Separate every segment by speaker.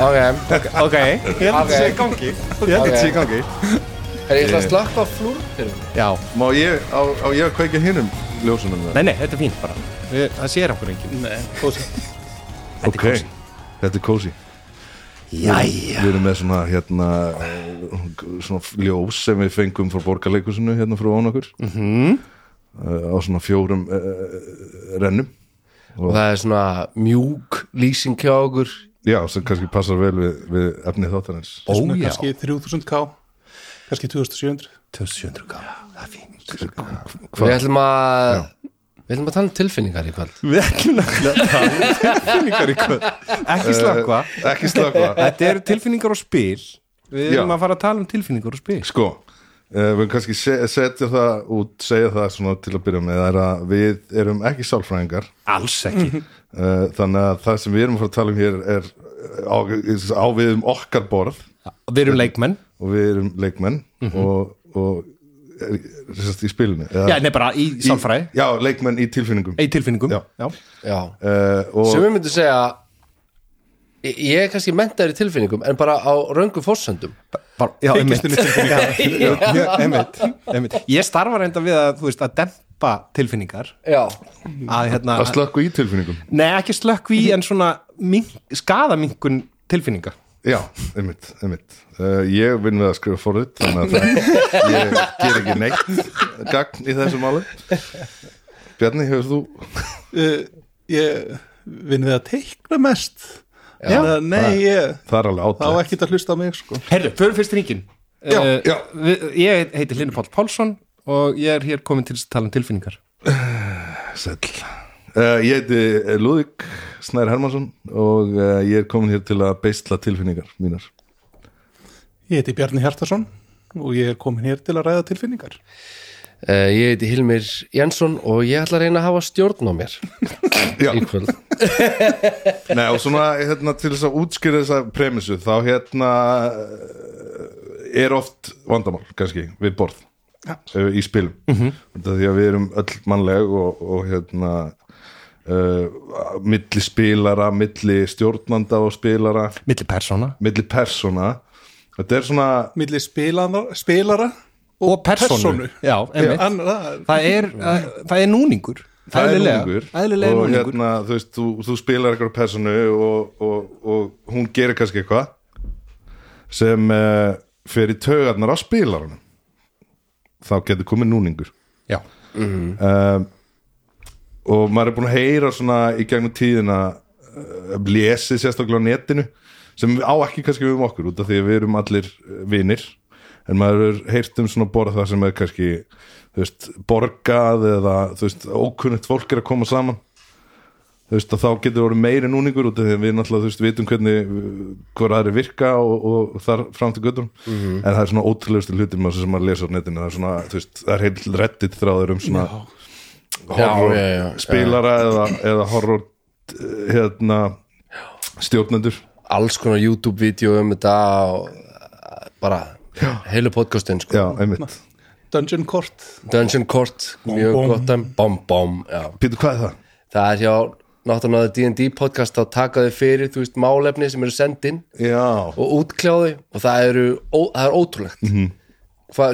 Speaker 1: Ok,
Speaker 2: Ok, ég held að þetta sé í gangi Ég held að þetta sé í gangi
Speaker 1: er ég ætla að slakka á flúrpyrunum?
Speaker 2: Já,
Speaker 3: Má ég, á, á ég að kveika hinnum ljósunum það?
Speaker 2: nei, nei, þetta er fínt bara Við- Það sér okkur enginn
Speaker 1: Nei, kósi
Speaker 2: Þetta er kósí.
Speaker 3: Þetta er kósi
Speaker 2: Jæja
Speaker 3: Við erum með svona hérna eh, svona ljós sem við fengum frá borgarleikusinu hérna frá án okkur mm
Speaker 2: Mhm.
Speaker 3: á svona fjórum uh, rennum
Speaker 1: Og það er svona mjúk lýsing hjá okkur
Speaker 3: Já, sem kannski passar vel við, við efni þáttanins
Speaker 2: Ó
Speaker 4: Svona
Speaker 2: já,
Speaker 4: kannski 3000k kannski 2700
Speaker 2: 2700 ká Það er fínt
Speaker 1: Við ætlum að Við ætlum að tala um tilfinningar í kvöld
Speaker 2: Við ætlum nefnilega að tala um tilfinningar í kvöld Ekki slakva
Speaker 3: Ekki slökva
Speaker 2: Þetta eru tilfinningar og spil Við erum
Speaker 3: Já.
Speaker 2: að fara að tala um tilfinningar og spil
Speaker 3: Sko, uh, við kannski se- setja það út, segja það svona til að byrja með það er að við erum ekki sálfræðingar
Speaker 2: Alls ekki
Speaker 3: uh, þannig að það sem við erum að fara að tala um hér er á, á við um okkar borð
Speaker 2: Við erum leikmenn
Speaker 3: og við erum leikmenn
Speaker 2: Mhm.
Speaker 3: og, og er, er, sérst, í spilinu eða,
Speaker 2: Já, nei, bara í sálfræði
Speaker 3: Í, já, leikmenn í tilfinningum
Speaker 2: Í tilfinningum
Speaker 3: Já.
Speaker 2: Já.
Speaker 1: Já
Speaker 3: uh, og
Speaker 1: Sem við myndum segja Ég ég er kannski mentaður í tilfinningum En bara á röngu fórsöndum
Speaker 2: Bara, já, einmitt. Já, einmitt, einmitt. Ég starfar enda við að, þú veist, að dempa tilfinningar
Speaker 1: Já
Speaker 2: að hérna,
Speaker 3: að slökku í tilfinningum
Speaker 2: nei ekki slökkvi en svona mink, skadamingun tilfinninga
Speaker 3: já, einmitt, einmitt uh, ég vinn við að skrifa forrið þannig að það, ég ger ekki neitt gagn í þessu máli Bjarni, hefur þú
Speaker 4: uh, ég vinn við að teikna mest
Speaker 2: Já.
Speaker 4: Þannig að nei, ég,
Speaker 3: það er alveg
Speaker 4: það var
Speaker 3: átlegt
Speaker 4: ekkert að hlusta á mig sko.
Speaker 2: Herru, förum fyrst ringin
Speaker 3: Já, já.
Speaker 2: Eh, Ég heiti Linur Páll Pálsson og ég er hér komin til að tala um tilfinningar
Speaker 3: Sæll uh, Ég heiti Lúðik Snær Hermansson og uh, ég er komin hér til að beisla tilfinningar mínar
Speaker 4: ég heiti Bjarni Hjartarsson og ég er komin hér til að ræða tilfinningar
Speaker 1: Eh, Ég heiti Hilmir Jensson Og ég ætla að reyna að hafa stjórn á mér
Speaker 3: Já.
Speaker 1: Í kvöld
Speaker 3: Nei, og svona hérna, til þess að útskýra þessa premissu þá hérna eh, er oft vandamál kannski við borð ja. í spilum Út af því að við erum öll mannleg og, og hérna uh, milli spilara milli stjórnanda og spilara
Speaker 2: milli persóna
Speaker 3: milli persóna þetta er svona
Speaker 4: milli spilara, spilara
Speaker 2: og persónu
Speaker 4: persónu.
Speaker 2: Já, einmitt.
Speaker 4: Ann- það-
Speaker 2: það, er, að, það er núningur
Speaker 3: það er
Speaker 2: Eðlilega.
Speaker 3: núningur
Speaker 2: Eðlilega
Speaker 3: og
Speaker 2: núningur
Speaker 3: hérna, þú veist, þú, þú spilar eitthvað personu og, og, og hún gerir kannski eitthvað sem uh, fer í taugarnar á spilaranum þá getur komið núningur
Speaker 2: Já,
Speaker 3: um, og maður er búin að heyra svona í gegnum tíðina uh, lesið sérstaklega á netinu sem á ekki kannski við um okkur út af því að við erum allir uh, vinir en maður er heyrt um svona borð það sem er kannski þú veist, borgað eða þú veist, ókunnigt fólk er að koma saman þú veist, að þá getur orðið meiri núningur út af því að við náttúrulega, þú veist, vitum hvernig hver aðri virka og, og þar fram til göttum,
Speaker 1: Mhm.
Speaker 3: en það er svona ótrúlegustu hluti maður sem maður lesa á netinu, það er svona þú veist, það er heil reddit þráður um svona horror
Speaker 1: Já, já, já, já.
Speaker 3: spilara eða, eða horror eh, hérna stjórnendur
Speaker 1: Alls konar YouTube-vídeó um þetta og eh, Bara Heilu podcastin sko
Speaker 3: já, einmitt,
Speaker 4: dungeon court
Speaker 1: Dungeon Court, mjög
Speaker 4: bom.
Speaker 1: gott dæm Bom, bom, já
Speaker 3: Pítur, hvað er það?
Speaker 1: Það er hjá náttúrulega D&D podcast þá taka þau fyrir, þú veist, málefni sem eru sendin
Speaker 3: já,
Speaker 1: og útkljáði og það, eru, ó, það er ótrúlegt
Speaker 2: Mhm.
Speaker 1: mm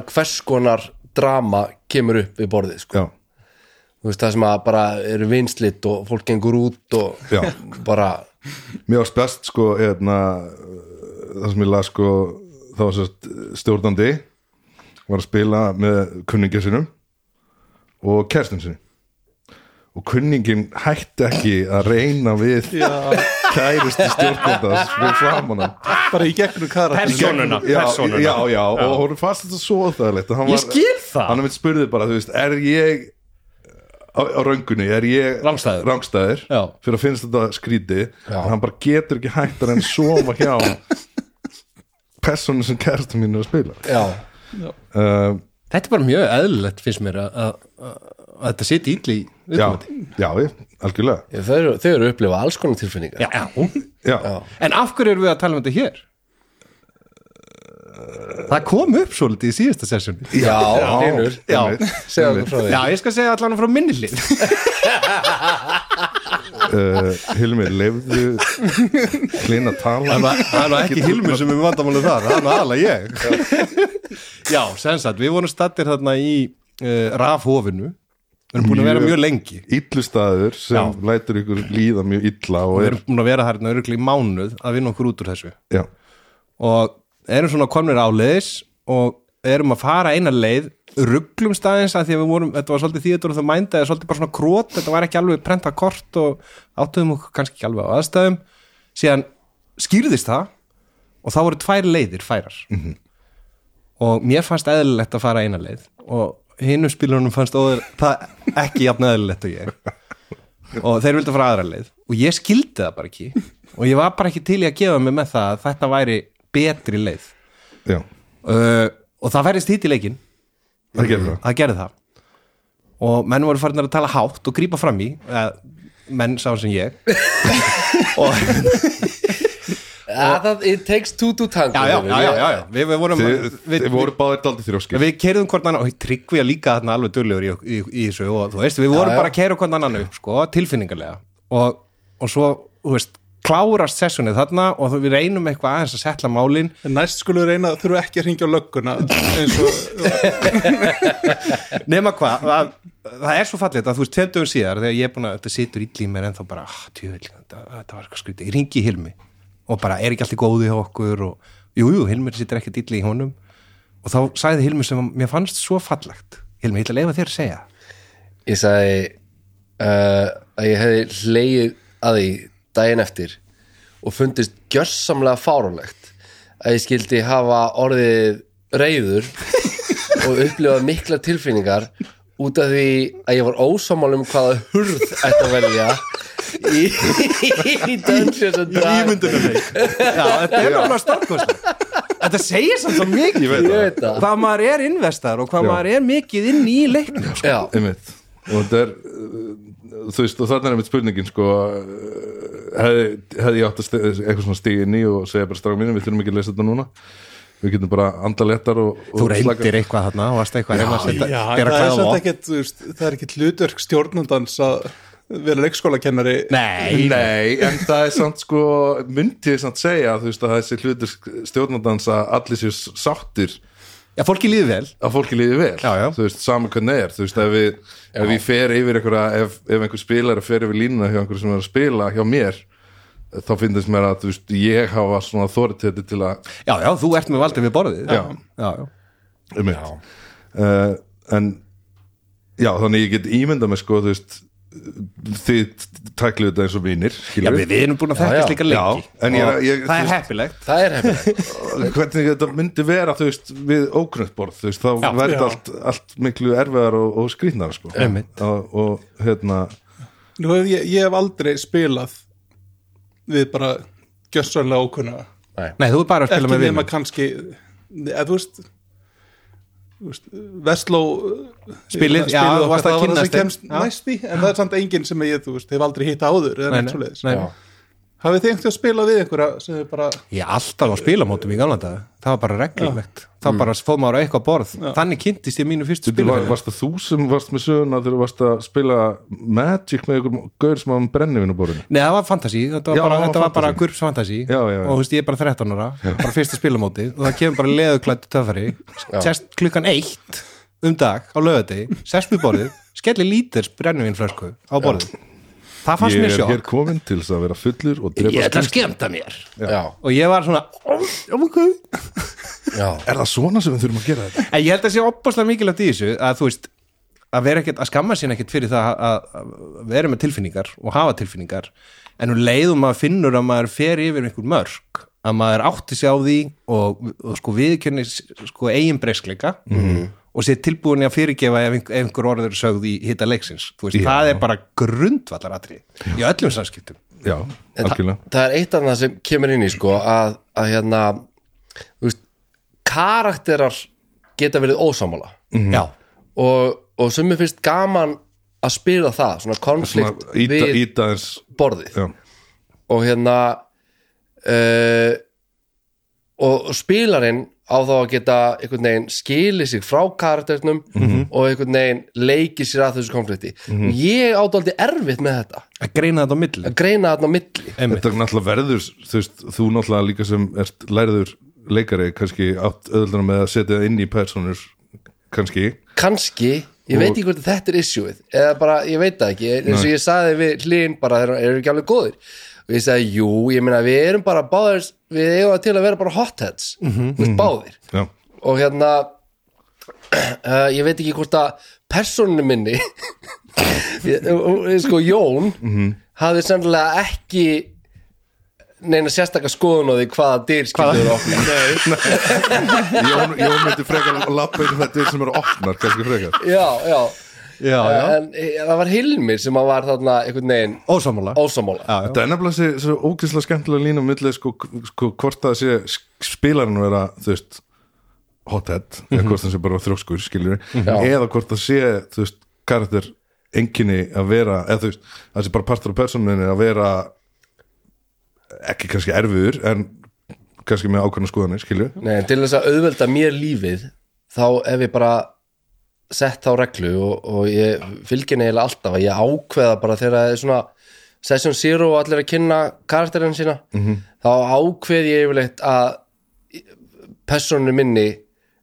Speaker 1: hvers konar drama kemur upp við borðið, sko
Speaker 3: já,
Speaker 1: þú veist, það sem að bara eru vinslitt og fólk gengur út og
Speaker 3: Já.
Speaker 1: bara,
Speaker 3: mér ást best sko, hérna það sem ég las sko, þá var sérst stjórnandi var að spila með kunningja sinum og kerstin sinni og kunningin hætti ekki að reyna við kæristi stjórnandans við framanum
Speaker 4: bara í gegnum kara
Speaker 2: persónuna,
Speaker 3: já,
Speaker 2: persónuna.
Speaker 3: já, já, og hún fannst þetta svo óþægilegt Ég var,
Speaker 2: skil það.
Speaker 3: Hann mitt spurði bara, þú veist, er ég á, á röngunni, er ég
Speaker 2: Rangstæður.
Speaker 3: rangstæður
Speaker 2: Já.
Speaker 3: fyrir að finnst þetta skríti en hann bara getur ekki hægt að hann sofa hjá persónu sem kærastu mín er að spila
Speaker 1: já
Speaker 3: uh,
Speaker 2: Þetta er bara mjög eðlilegt finnst mér að, að, að, að þetta sitt ítli
Speaker 3: Já, já, ég, algjörlega
Speaker 1: ég- þau eru, þau eru að upplifa alls konar tilfinningar
Speaker 2: Já, já.
Speaker 3: Já,
Speaker 2: En af hverju erum við að tala um þetta hér? Það kom upp svolítið í síðasta sessjónu
Speaker 1: já, hlynur,
Speaker 2: Já.
Speaker 3: einmitt,
Speaker 1: segja okkur
Speaker 3: einmitt.
Speaker 1: frá því
Speaker 2: Já, ég skal segja allan frá minni hlið
Speaker 3: uh, Hilmir, lefðu Hlinn að tala
Speaker 2: Það er nú ekki Hilmur sem er vandamálið þar, það er nú aðalega ég. Já, sem sagt, við vorum stattir þarna í uh, rafhofinu, við erum búin að vera
Speaker 3: Mjög-
Speaker 2: mjög lengi.
Speaker 3: Illustæður sem
Speaker 2: Já.
Speaker 3: lætur ykkur líða mjög illa og
Speaker 2: Við
Speaker 3: er
Speaker 2: erum búin að vera þarna örgli í mánuð að vinna okkur út úr þessu.
Speaker 3: já,
Speaker 2: Og erum svona komnir áleiðis og erum að fara eina leið, rugglum staðins að því að við vorum, þetta var svolítið þýðatur og það mænda, svolítið bara svona krót, þetta var ekki alveg prenta kort og áttuðum okkur kannski ekki alveg á aðstæðum. Síðan skýrðist það og þá voru tvær leiðir færar. og mér fannst eðlilegt að fara eina leið og hinnum spilunum fannst óður, það ekki jafn eðlilegt og ég og þeir vildu fara aðra leið og ég skildi það bara ekki og ég var bara ekki til í að gefa mig með það að þetta væri betri leið
Speaker 3: já,
Speaker 2: uh, og það færist hitt í leikinn
Speaker 3: það gerir það
Speaker 2: það gerði það og menn voru farin að tala hátt og grípa fram í eða, menn sá sem ég og,
Speaker 1: Ah, það, it takes two to tango
Speaker 2: já, já, já, já, já, já. Við, við vorum
Speaker 3: Þið,
Speaker 2: við-
Speaker 3: þið voru báðir daldið þrjóskir
Speaker 2: Við keirðum hvort annan og tryggvið líka þarna alveg dullegur í, í, í þessu og þú veist, við vorum
Speaker 1: já.
Speaker 2: bara að keira hvort annan upp, sko, tilfinningarlega og, og svo, þú veist, klárast sessunni þarna og þú- við reynum eitthvað aðeins að setla málin
Speaker 4: En næst skulum við reyna að þurfa ekki að ringja á lögguna eins og
Speaker 2: nema hvað, það, það er svo fallið að þú veist, tveim dögum síðar, þegar ég er búin að þetta situr illa í mér en þá bara, ah, tjöfell þetta, þetta var eitthvað skrítið, ég ringi í Hilmi og bara, er ekki allt í góði hjá okkur og jú, jú, Hilmi situr ekkert illa í honum og þá sagði Hilmi sem að mér fannst svo fallegt, Hilmi, ég ætla að leifa þér að segja það.
Speaker 1: ég sagði uh, að ég hefði hlegið að því daginn eftir og fundist gjörsamlega fáránlegt að ég skildi hafa orðið reyður og upplifað mikla tilfinningar út af því að ég var ósámál um hvaða hurð ætti að velja í, í Dungeons and Dragons
Speaker 2: Já, þetta er alveg stórkostlega Þetta segir samt svo mikið
Speaker 3: Ég veit
Speaker 1: ég
Speaker 3: það.
Speaker 1: veit það
Speaker 2: Hvað maður er investar og hvað
Speaker 3: Já.
Speaker 2: maður er mikið inn í leiknum sko.
Speaker 1: já,
Speaker 3: Einmitt. og þetta er uh, þú veist, og þarna er einmitt spurningin sko, uh, hefði, hefði ég átt að sti- eitthvað svona stíð inn í og segja bara strafum mínum, við þurfum ekki að lesa þetta núna við getum bara andað léttar og, og
Speaker 2: Þú
Speaker 3: slakað.
Speaker 2: reyndir eitthvað þarna og varst eitthvað heima að setja-
Speaker 4: Já,
Speaker 2: bera
Speaker 4: það er
Speaker 2: kvæða á
Speaker 4: samt
Speaker 2: loft.
Speaker 4: ekkert, þú veist, það er ekkert hlutverk stjórnandans að vera leikskólakennari
Speaker 2: Nei,
Speaker 3: Nei, en það er samt sko myndi ég samt segja þú veist að þessi hlutur stjórnandans að allir séu sáttir
Speaker 2: já, fólki líður vel
Speaker 3: að fólki líði vel
Speaker 2: Já, já.
Speaker 3: þú veist, saman hvernig er, þú veist, ef við ef ég fer yfir einhverja, ef, ef einhver spilar fer yfir línuna hjá einhverju sem er að spila hjá mér þá finnst mér að, þú veist, ég hafa svona þóriðtæti til að
Speaker 2: Já, já, þú ert með valdið við borðið
Speaker 3: Já.
Speaker 2: já, já.
Speaker 3: um já. Uh, en já, þannig ég get ímyndað mig sko, þú veist þið tæklu þetta eins og vinir
Speaker 2: já
Speaker 3: skilur
Speaker 2: við, við erum búin að
Speaker 1: Já,
Speaker 2: þekkast
Speaker 1: já.
Speaker 2: líka lengi
Speaker 3: Já, en ég er-
Speaker 2: Og Það
Speaker 3: ég- þú
Speaker 2: er
Speaker 3: veist-
Speaker 2: heppilegt
Speaker 1: það er hefnilegt
Speaker 3: hvernig þetta myndi vera þú veist, við ógröndborð þú veist, þá
Speaker 2: Já.
Speaker 3: verði
Speaker 4: Já.
Speaker 3: allt, allt miklu erfiðar og, og skrýtnar sko.
Speaker 2: Einmitt.
Speaker 3: og, og hérna
Speaker 4: Nú hef ég, ég hef aldrei spilað við bara gjössanlega ókunna
Speaker 2: Nei, þú er bara að spila
Speaker 4: ekki
Speaker 2: með
Speaker 4: nema
Speaker 2: vinum
Speaker 4: kannski eða þú veist, þú veist Vestló
Speaker 2: Spilið, já,
Speaker 4: já,
Speaker 2: þú varst að
Speaker 4: það var það
Speaker 2: kynnast
Speaker 4: sem kemst
Speaker 2: þeim. Já.
Speaker 4: næst í, en það er samt enginn sem ég, þú veist, hef aldrei hitt áður eða
Speaker 2: Nei,
Speaker 4: neitt
Speaker 2: nei,
Speaker 4: svo leiðis
Speaker 2: nei.
Speaker 4: hafið þið einhvern að spila við einhverja sem er bara
Speaker 2: Ég er alltaf á spilamótum í gamla dag Það var bara reglulegt Það var bara að fóð maður á eitthvað borð Þannig kynntist ég mínu fyrstu
Speaker 3: Mm. var,
Speaker 2: spilafélag
Speaker 3: varst það þú sem varst með söguna þegar þú varst að spila Magic með ykkur gaur sem var með brennivinuborðinu
Speaker 2: Nei, það var fantasy, þetta var
Speaker 3: Já,
Speaker 2: bara,
Speaker 3: það var
Speaker 2: þetta var bara
Speaker 3: fantasy.
Speaker 2: gurps fantasy
Speaker 3: Já, já, já.
Speaker 2: og þú veist, ég er bara 13 ára, bara fyrsta spilamóti og það kemur bara leðuklættu töfari sest klukkan eitt um dag á lögati, sest við borðið skellir líters brennivinn flösku á borðið það fannst
Speaker 3: ég
Speaker 2: mér
Speaker 3: er hér
Speaker 2: sjokk
Speaker 3: komin til þess að vera fullur og drepa
Speaker 2: ætla að
Speaker 3: skrímsli.
Speaker 2: skemmta mér
Speaker 1: já,
Speaker 2: og ég var svona ok
Speaker 1: já,
Speaker 3: er það svona sem við þurfum að gera þetta?
Speaker 2: En ég held að sé opbáslega mikilvægt í þessu að þú veist að vera ekkert, að skamma sín ekkert fyrir það að, að að vera með tilfinningar og hafa tilfinningar en hún leiðum maður finnur að maður fer yfir einhver mörg að maður átti sig á því og, og sko viðkjörni sko eigin breyskleika og sé tilbúin í að fyrirgefa ef einhver, ef einhver orður er sögð í hitta leiksins Þú veist, það er bara grundvallaratrið í öllum samskiptum
Speaker 3: já, algjörlega
Speaker 1: það er eitt annað sem kemur inn í sko að, að hérna þú veist, karakterar geta verið ósámála
Speaker 2: Já,
Speaker 1: og, og sem mér finnst gaman að spila það, svona konflikt
Speaker 3: Svona íta,
Speaker 1: við
Speaker 3: íta eins
Speaker 1: borðið
Speaker 3: já,
Speaker 1: eh, og hérna uh, og spilarinn á þá að geta einhvern veginn skilið sig frá karakternum
Speaker 3: Mhm.
Speaker 1: og einhvern veginn leikið sér að þessu konflikti ég ádóldi erfitt með þetta
Speaker 2: að greina þetta á milli
Speaker 1: að greina þarna á milli
Speaker 2: Einmitt.
Speaker 3: Þetta er náttúrulega verður, þú veist, þú náttúrulega líka sem ert læriður leikari kannski átt öðlunum með að setja það inn í personur kannski
Speaker 1: kannski, ég veit ekki hvort að þetta er issueið eða bara, ég veit það ekki eins og ég saði við hlýn bara, þeir eru ekki alveg góðir og ég sagði, jú, ég meina við erum bara báðir, við eigum það til að vera bara hotheads,
Speaker 2: Mhm,
Speaker 1: þú veist, báðir
Speaker 3: Já,
Speaker 1: og hérna uh, ég veit ekki hvort að persónu minni ég- og- og- sko Jón
Speaker 2: Mhm.
Speaker 1: hafði sennilega ekki neina sérstaka skoðun á því hvaða dyr skilur okkur
Speaker 3: Jón, Jón myndi frekar að lappa inn í þetta sem eru opnar kannski frekar
Speaker 1: já, já,
Speaker 2: já, já,
Speaker 1: en eh, það var Hilmir sem að var þarna einhvern veginn
Speaker 2: ósámála
Speaker 1: ósamála
Speaker 2: já, já.
Speaker 3: Þetta er nefnilega sér, sér ógeðslega skemmtilega lína á milli sko, sko hvort það sé sk- spilarinn vera, þú veist hothead, eða hvort það sé bara þrjókskur skiljur,
Speaker 1: Mhm. Já.
Speaker 3: eða hvort það sé þú veist, karakter enginni að vera, eða þú veist, það sé bara partur af personinu að vera ekki kannski erfiður en kannski með ákveðna skoðanir, skilju
Speaker 1: Nei, en til þess að auðvelda mér lífið þá hef ég bara sett þá reglu og, og ég fylgin eiginlega alltaf að ég ákveða bara þegar það er svona session zero og allir að kynna karakterinn sína -hmm. þá ákveð ég yfirleitt að personu minni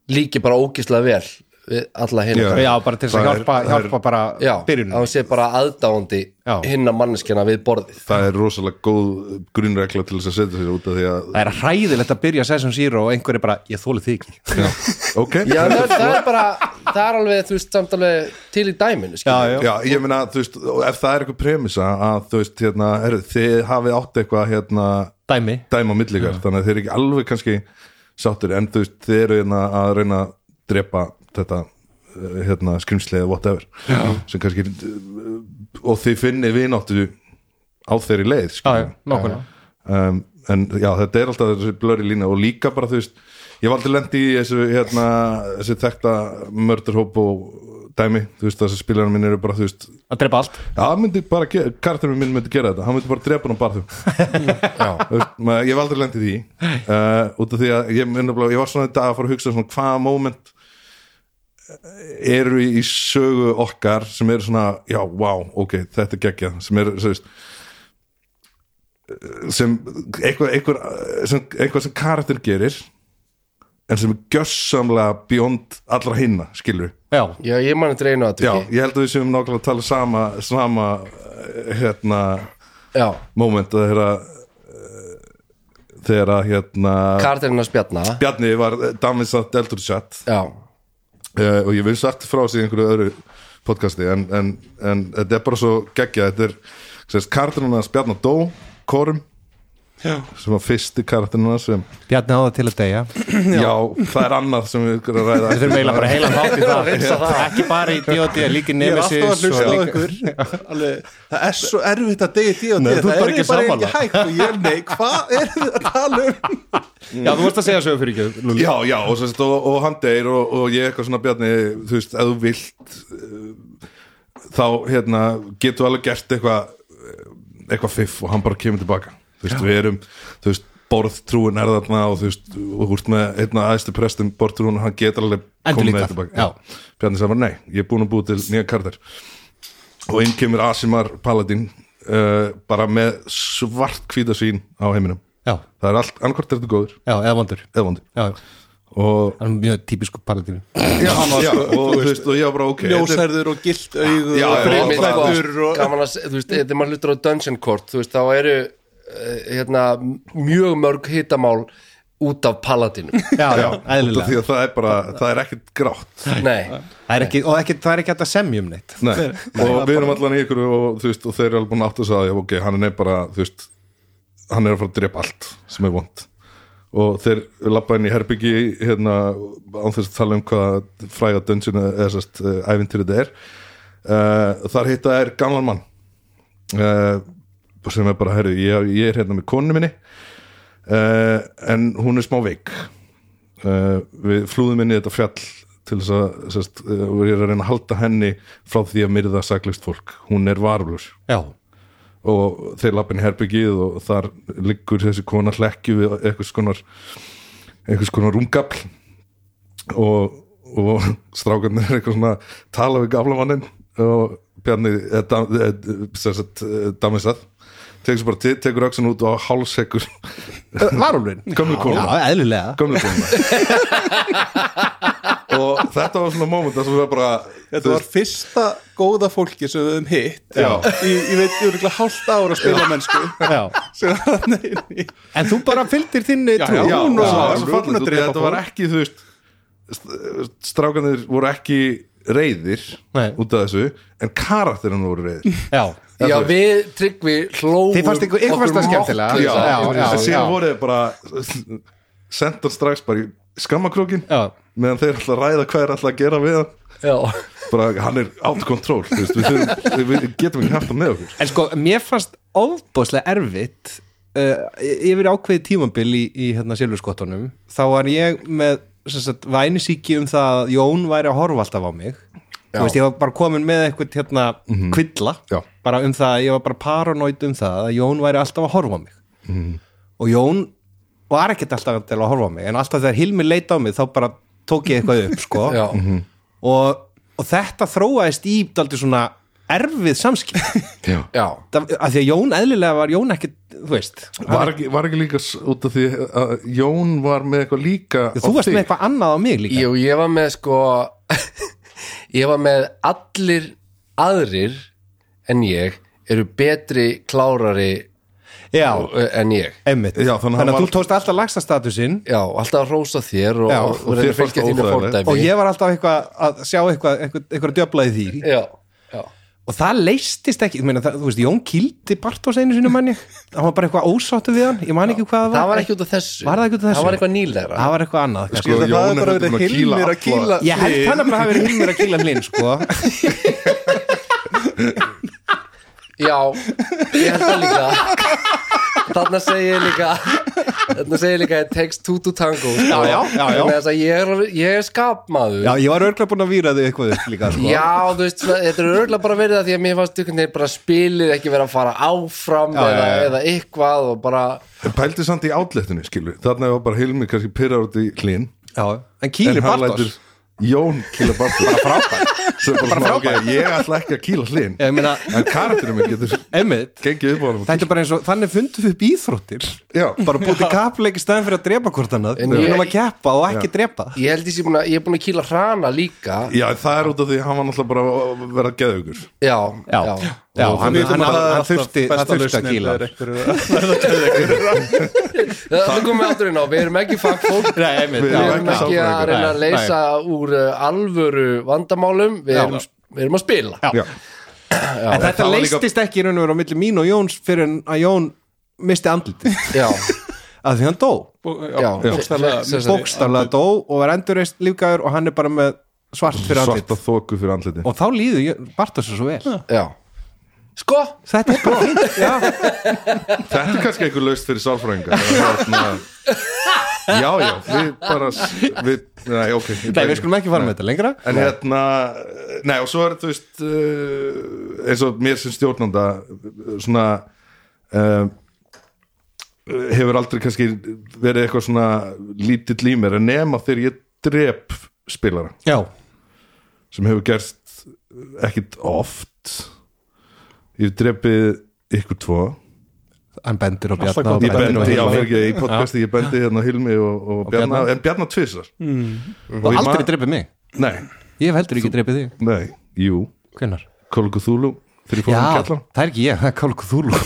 Speaker 1: líki bara ógislega vel við alla hinn
Speaker 3: Já.
Speaker 2: já, bara til þess að
Speaker 3: Það er-
Speaker 2: hjálpa,
Speaker 3: það er-
Speaker 2: hjálpa bara
Speaker 1: Já, að
Speaker 2: byrjunum
Speaker 1: hún sé bara aðdáandi
Speaker 2: Já.
Speaker 1: hinna manneskjana við borðið
Speaker 3: það er rosalega góð grunnregla til þess að setja sér út af því að
Speaker 2: það er hræðilegt að byrja session zero og einhver er bara, ég þóli þig ekki
Speaker 3: ok,
Speaker 1: Já, það, það er bara, það er alveg, þú veist, samt alveg til í dæminu, skilur
Speaker 2: já, já,
Speaker 3: Já, ég meina, þú veist, og ef það er eitthvað premisa að, þú veist, hérna, er, þið hafið átt eitthvað, hérna,
Speaker 2: dæmi
Speaker 3: dæma á milli ykkar, þannig að þið eru ekki alveg kannski sáttur, en þú veist, þið eru hérna að reyna að drepa þetta eh, hérna, skrimsli eða whatever Já. sem kannski eh, og þið finnið vináttu á þeirri leið,
Speaker 2: já,
Speaker 3: skilur
Speaker 2: já, nákvæmlega
Speaker 3: um, en já, þetta er alltaf þessi blöri lína og líka bara þú veist ég var aldrei lendi í þessu, hérna, þessu þekta mörderhóp og dæmi, þú veist, þessi spilarinn minn eru bara þú veist,
Speaker 2: að drepa allt
Speaker 3: já, hann myndi bara ge- karakterinn minn myndi gera þetta, hann myndi bara drepa hann á barðum Þú veist, maður- ég var aldrei lendi í því uh, út af því að ég, myndi, bara- ég var svona þetta að fara að hugsa svona hvaða moment eh, eru í sögu okkar sem eru svona, já, wow, ok þetta er geggja, sem eru, þú veist eh, sem eitthvað, eitthvað, eh, sem eitthvað sem karakter gerir en sem er gjössamlega bjónd allra hinna, skilur
Speaker 2: já,
Speaker 1: Já, ég mann þetta einu
Speaker 3: Já,
Speaker 1: aðtöki
Speaker 3: ég held að við séum nákvæmlega að tala sama, sama eh, hérna,
Speaker 1: Já,
Speaker 3: moment að þeirra eh, þegar að hérna
Speaker 1: karakterinn að spjalla
Speaker 3: Bjarni var daminsat eldur chat
Speaker 1: Já,
Speaker 3: uh, og ég vil sagt frá sig í einhverju öðru podcasti en, en, en þetta er bara svo geggja þetta er, sérst, karakterinn hans Bjarni dó Korum,
Speaker 4: Já,
Speaker 3: sem var fyrsti karakterinn hans sem
Speaker 2: Bjarni á það til að deyja
Speaker 3: Já. það er annað sem við erum að ræða
Speaker 2: við þurfum eiginlega bara heilan þátt í það ekki bara í D.O.D. líka í
Speaker 4: ég er alltaf
Speaker 2: Nemesis
Speaker 4: að hlusta á
Speaker 2: og-
Speaker 4: ykkur alveg, Það er svo erfitt að degi því og
Speaker 2: Nei,
Speaker 4: degi
Speaker 2: þú ert
Speaker 4: Það
Speaker 2: bara
Speaker 4: er
Speaker 2: ekki
Speaker 4: bara
Speaker 2: sammála.
Speaker 4: ekki hægt og ég er nei, hvað er þið að tala um?
Speaker 2: já, þú vorst að segja sögur fyrir ekki Lúli.
Speaker 3: Já, já, og, sérst, og, og hann deyr og, og ég eitthvað svona Bjarni, þú veist, ef þú vilt uh, þá hérna getur alveg gert eitthvað eh, eitthvað fiff og hann bara kemur tilbaka þú veist, við erum, þú veist, borðtrúin er þarna og þú veist, og húrt með einna aðeistu prestum borðtrúin, hann getur alveg komið
Speaker 2: Endurlífgað,
Speaker 3: með tilbaka Bjarni sagði bara, nei, ég er búin að búi til nýja kartar og inn kemur Asimar Paladin uh, bara með svart hvítasvín á heiminum
Speaker 2: já,
Speaker 3: það er allt, annarkvort er þetta góður
Speaker 2: já, eða vondur
Speaker 3: eða vondi
Speaker 2: já,
Speaker 3: og
Speaker 2: hann er mjög típisku paladínu
Speaker 3: já, já, og sko, þú veist, og ég var bara ok þetta er-
Speaker 4: Ljósherður og gilt augu
Speaker 3: Já,
Speaker 4: og
Speaker 3: já,
Speaker 1: Einmitt,
Speaker 3: bara-
Speaker 4: frimlættur
Speaker 1: sko,
Speaker 4: og
Speaker 1: gaman að, se- þú veist, þegar maður hlutur á Dungeon Court þú veist, þá eru eh, hérna, mjög mörg hitamál út af paladinum
Speaker 2: já, já,
Speaker 3: út af því
Speaker 2: eðlilega
Speaker 3: að það er bara, það er ekkert grátt
Speaker 1: Nei,
Speaker 2: Það er ekki, og ekki, það er ekki hægt að semja um neitt
Speaker 3: Nei. og við erum allan í ykkur og þú veist, og þeir eru alveg búin að átt að sagði ok, hann er nefn bara, þú veist hann er að fara að drepa allt sem er vond og þeir lappa inn í herbyggi hérna, án þess að tala um hvað fræga dungeon eða sérst uh, æfintýri þetta er uh, þar hitta er gamlan mann uh, sem er bara, herri, ég, ég er hérna með konu minni uh, en hún er smá veik uh, við flúðum inn í þetta fjall til þess að sest, uh, og ég er að reyna að halda henni frá því að myrða saklist fólk, hún er varulur
Speaker 2: já,
Speaker 3: og þeir lappin herbyggið og þar liggur þessi kona hlekki við eitthvað skonar einhvers konar rúmgafl og, og strákarnir er eitthvað svona tala við gamla mannin og Bjarni eh, dam- eh, sem sagt, eh, damisað tekur sér bara til, tekur öxin út og hálsekur
Speaker 2: Varúlfurinn
Speaker 3: gömlu kona
Speaker 2: Já, eðlilega
Speaker 3: gömlu kona og þetta var svona moment þar sem við bara
Speaker 4: Þetta var fyrsta góða fólki sem við höfum hitt
Speaker 3: Já.
Speaker 4: í, Ég veit, ég er hálft ára að spila mennsku
Speaker 2: Já.
Speaker 4: sem var hann inni
Speaker 2: En þú bara fylgdir þinni
Speaker 4: Já,
Speaker 2: trú
Speaker 4: já. Hún var-
Speaker 3: það var
Speaker 4: hún
Speaker 3: svo
Speaker 4: var
Speaker 3: fallegt út
Speaker 4: búin að
Speaker 3: í
Speaker 4: drepa
Speaker 3: þetta var
Speaker 4: fólk.
Speaker 3: ekki þú veist st- strákanir voru ekki reyðir
Speaker 2: Nei.
Speaker 3: út af þessu en karakterinn voru reyðir
Speaker 2: Já,
Speaker 3: Það
Speaker 1: Já,
Speaker 3: þú veist.
Speaker 1: við tryggvi hlóum
Speaker 2: Þið fannst ykkur- ykkur fannst það skemmtilega.
Speaker 3: já,
Speaker 2: Já, já,
Speaker 3: já, en
Speaker 2: já.
Speaker 3: síðan voru þeir bara sendar strax bara í skammakrókin
Speaker 2: Já.
Speaker 3: meðan þeir ætla að ræða hvað er alltaf að gera við hann
Speaker 1: Já,
Speaker 3: bara hann er out of control þú veist, við, þurfum, við getum ekki haft hann með okkur
Speaker 2: En sko, mér fannst ofbóðslega erfitt uh, yfir ákveðið tímabil í, í hérna silfurskottunum þá var ég með sem sagt, vænisíki um það að Jón væri að horfa alltaf á mig
Speaker 1: Já.
Speaker 2: Þú veist, ég var bara komin með eitthvað hérna kvilla,
Speaker 3: Já.
Speaker 2: bara um það ég var bara paranoid um það að Jón væri alltaf að horfa á mig og Jón var ekkert alltaf til að horfa á mig en alltaf þegar Hilmi leit á mig þá bara tók ég eitthvað upp sko
Speaker 1: já,
Speaker 2: og, og þetta þróaðist í daldið svona erfið samskipt
Speaker 3: já.
Speaker 1: já
Speaker 2: Það- af því að Jón eðlilega var Jón ekkert, þú veist
Speaker 3: Var, ekki, var ekki líka s- út af því að Jón var með eitthvað líka
Speaker 2: þú
Speaker 3: á
Speaker 2: varst
Speaker 3: þig?
Speaker 2: með eitthvað annað á mig líka
Speaker 1: Jú, ég var með sko Ég var með allir aðrir en ég eru betri, klárari
Speaker 2: já,
Speaker 1: eh, en ég
Speaker 2: emmitt
Speaker 3: Já, þannig að
Speaker 2: þannig,
Speaker 3: hann
Speaker 2: að
Speaker 3: var-
Speaker 2: þú tókst alltaf lagsta statusinn
Speaker 1: Já, alltaf að rósa þér og,
Speaker 2: Já,
Speaker 1: og,
Speaker 3: og
Speaker 1: og reyna
Speaker 3: þér
Speaker 1: að
Speaker 3: fannst
Speaker 1: fylgja
Speaker 3: það
Speaker 1: þínu
Speaker 3: óþægilegt.
Speaker 1: fordæmi
Speaker 2: og ég var alltaf eitthvað að sjá eitthvað eitthvað, eitthvað djöbla í því
Speaker 1: Já, já,
Speaker 2: og það leistist ekki, ég meina, það, þú veist Jón kildi Bartos einu sinni manni hann var bara eitthvað ósáttu við hann, ég man ekki hvað
Speaker 1: það var ekki út af þessu
Speaker 2: Var það ekki út af þessu?
Speaker 1: Það var eitthvað nýlegra
Speaker 2: það var eitthvað annað kannski.
Speaker 3: Sko, Jón
Speaker 4: Það er
Speaker 3: er heldur
Speaker 4: bara verið
Speaker 3: búinn að kýla
Speaker 4: hilmir að
Speaker 3: alla.
Speaker 4: kýla
Speaker 2: ég held hann að bara hafi verið hinn mér að kýla hlinn sko.
Speaker 1: Já, ég held það líka Þarna segi ég líka Þarna segi ég líka It takes two to tango sko. Já,
Speaker 2: já, já, já.
Speaker 1: Ég er, ég er skapmaður
Speaker 2: já, ég var örglega búin að výra þig eitthvað upp líka sko.
Speaker 1: Já, þú veist, svona, þetta er örgulega bara verið að því að mér fannst einhvern veginn bara spilið ekki vera að fara áfram eða,
Speaker 2: já, já.
Speaker 1: eða eitthvað og bara,
Speaker 3: En pældi samt í átletinu, skilu Þarna var bara Hilmi kannski pyrrar út í hlinn
Speaker 2: Já, en kýlir
Speaker 3: En hann
Speaker 2: Bartos
Speaker 3: lætur Jón kýla Bartos Bara frábært bara bara
Speaker 2: frábært.
Speaker 3: okay, Ég ætla ekki að kýla hlinn
Speaker 2: ég meina,
Speaker 3: En karakterinn minn getur
Speaker 2: emmitt
Speaker 3: gengið upp á hann
Speaker 2: Þetta er bara eins og, þannig fundum við upp íþróttir
Speaker 3: Já.
Speaker 2: Bara búið til kapleik í staðin fyrir að drepa hvort annað
Speaker 1: En
Speaker 2: Við
Speaker 1: ég-
Speaker 2: erum að keppa og ekki drepa
Speaker 1: ég held ég sé búin að, ég er búin að kýla hrana líka Já,
Speaker 3: Já, það er út af því að hann var náttúrulega bara að vera geðugur
Speaker 1: já,
Speaker 2: já hann,
Speaker 4: Við
Speaker 2: hann, hann,
Speaker 4: vitum að það er
Speaker 2: hann
Speaker 4: alltaf
Speaker 2: þurfti,
Speaker 4: besta
Speaker 2: hann þurfti
Speaker 4: lausnin
Speaker 2: að kýla
Speaker 4: þegar einhverju-
Speaker 1: Það komum við aftur inn á, við erum ekki fagfólk
Speaker 2: Nei, einmitt,
Speaker 3: Við
Speaker 1: Við
Speaker 2: já,
Speaker 1: erum ekki
Speaker 3: ekki
Speaker 1: að
Speaker 3: sálfræðingar.
Speaker 1: reyna að
Speaker 2: Nei,
Speaker 1: leysa úr uh, alvöru vandamálum Við
Speaker 2: Já.
Speaker 1: erum, við erum að spila
Speaker 2: Já.
Speaker 3: Já,
Speaker 2: En þetta
Speaker 3: það var líka-
Speaker 2: leistist ekki í raun og veru á milli mín og Jóns fyrir en að Jón misti andlit
Speaker 1: Já,
Speaker 2: að því hann dó
Speaker 4: Bó-
Speaker 1: já,
Speaker 4: já, bókstaflega,
Speaker 1: Sem sagt-
Speaker 2: Bókstaflega dó og var endurreist lífgæður og hann er bara með svart fyrir andlit
Speaker 3: svarta þóku fyrir andliti
Speaker 2: Og þá líður Bartos svo vel
Speaker 1: já Sko,
Speaker 2: Þetta er bara fínt, já,
Speaker 3: Þetta er kannski einhver laust fyrir sálfræðinga hérna- Já, já, við bara við, Nei, ok ég
Speaker 2: Nei, við
Speaker 3: bara-
Speaker 2: skulum ekki fara með þetta lengra
Speaker 3: En hérna, nei og svo er þú veist uh, eins og mér sem stjórnanda uh, svona uh, hefur aldrei kannski verið eitthvað svona lítill í mér en nema þegar ég drep spilara
Speaker 2: Já,
Speaker 3: sem hefur gerst ekkit oft ég hef drepið ykkur tvo
Speaker 2: hann bendir og bjarna
Speaker 4: gott
Speaker 2: og
Speaker 4: í
Speaker 3: ég
Speaker 2: bendir og
Speaker 3: bendi, já,
Speaker 2: Hilmi.
Speaker 3: fyrir ekki, í podcasti ég bendi hérna á Hilmi og, og, Bjarna,
Speaker 2: Bjarna.
Speaker 3: en Bjarna tvisar
Speaker 2: Og
Speaker 3: ég
Speaker 2: aldrei
Speaker 3: man-
Speaker 2: dreipið mig
Speaker 3: nei,
Speaker 2: Ég hef heldur ekki dreipið þig
Speaker 3: nei, jú,
Speaker 2: Hvenær?
Speaker 3: Kolgu Þúlu fyrir fórum
Speaker 2: Já,
Speaker 3: um kjallan
Speaker 2: það er ekki ég, það er Kálku Þúlu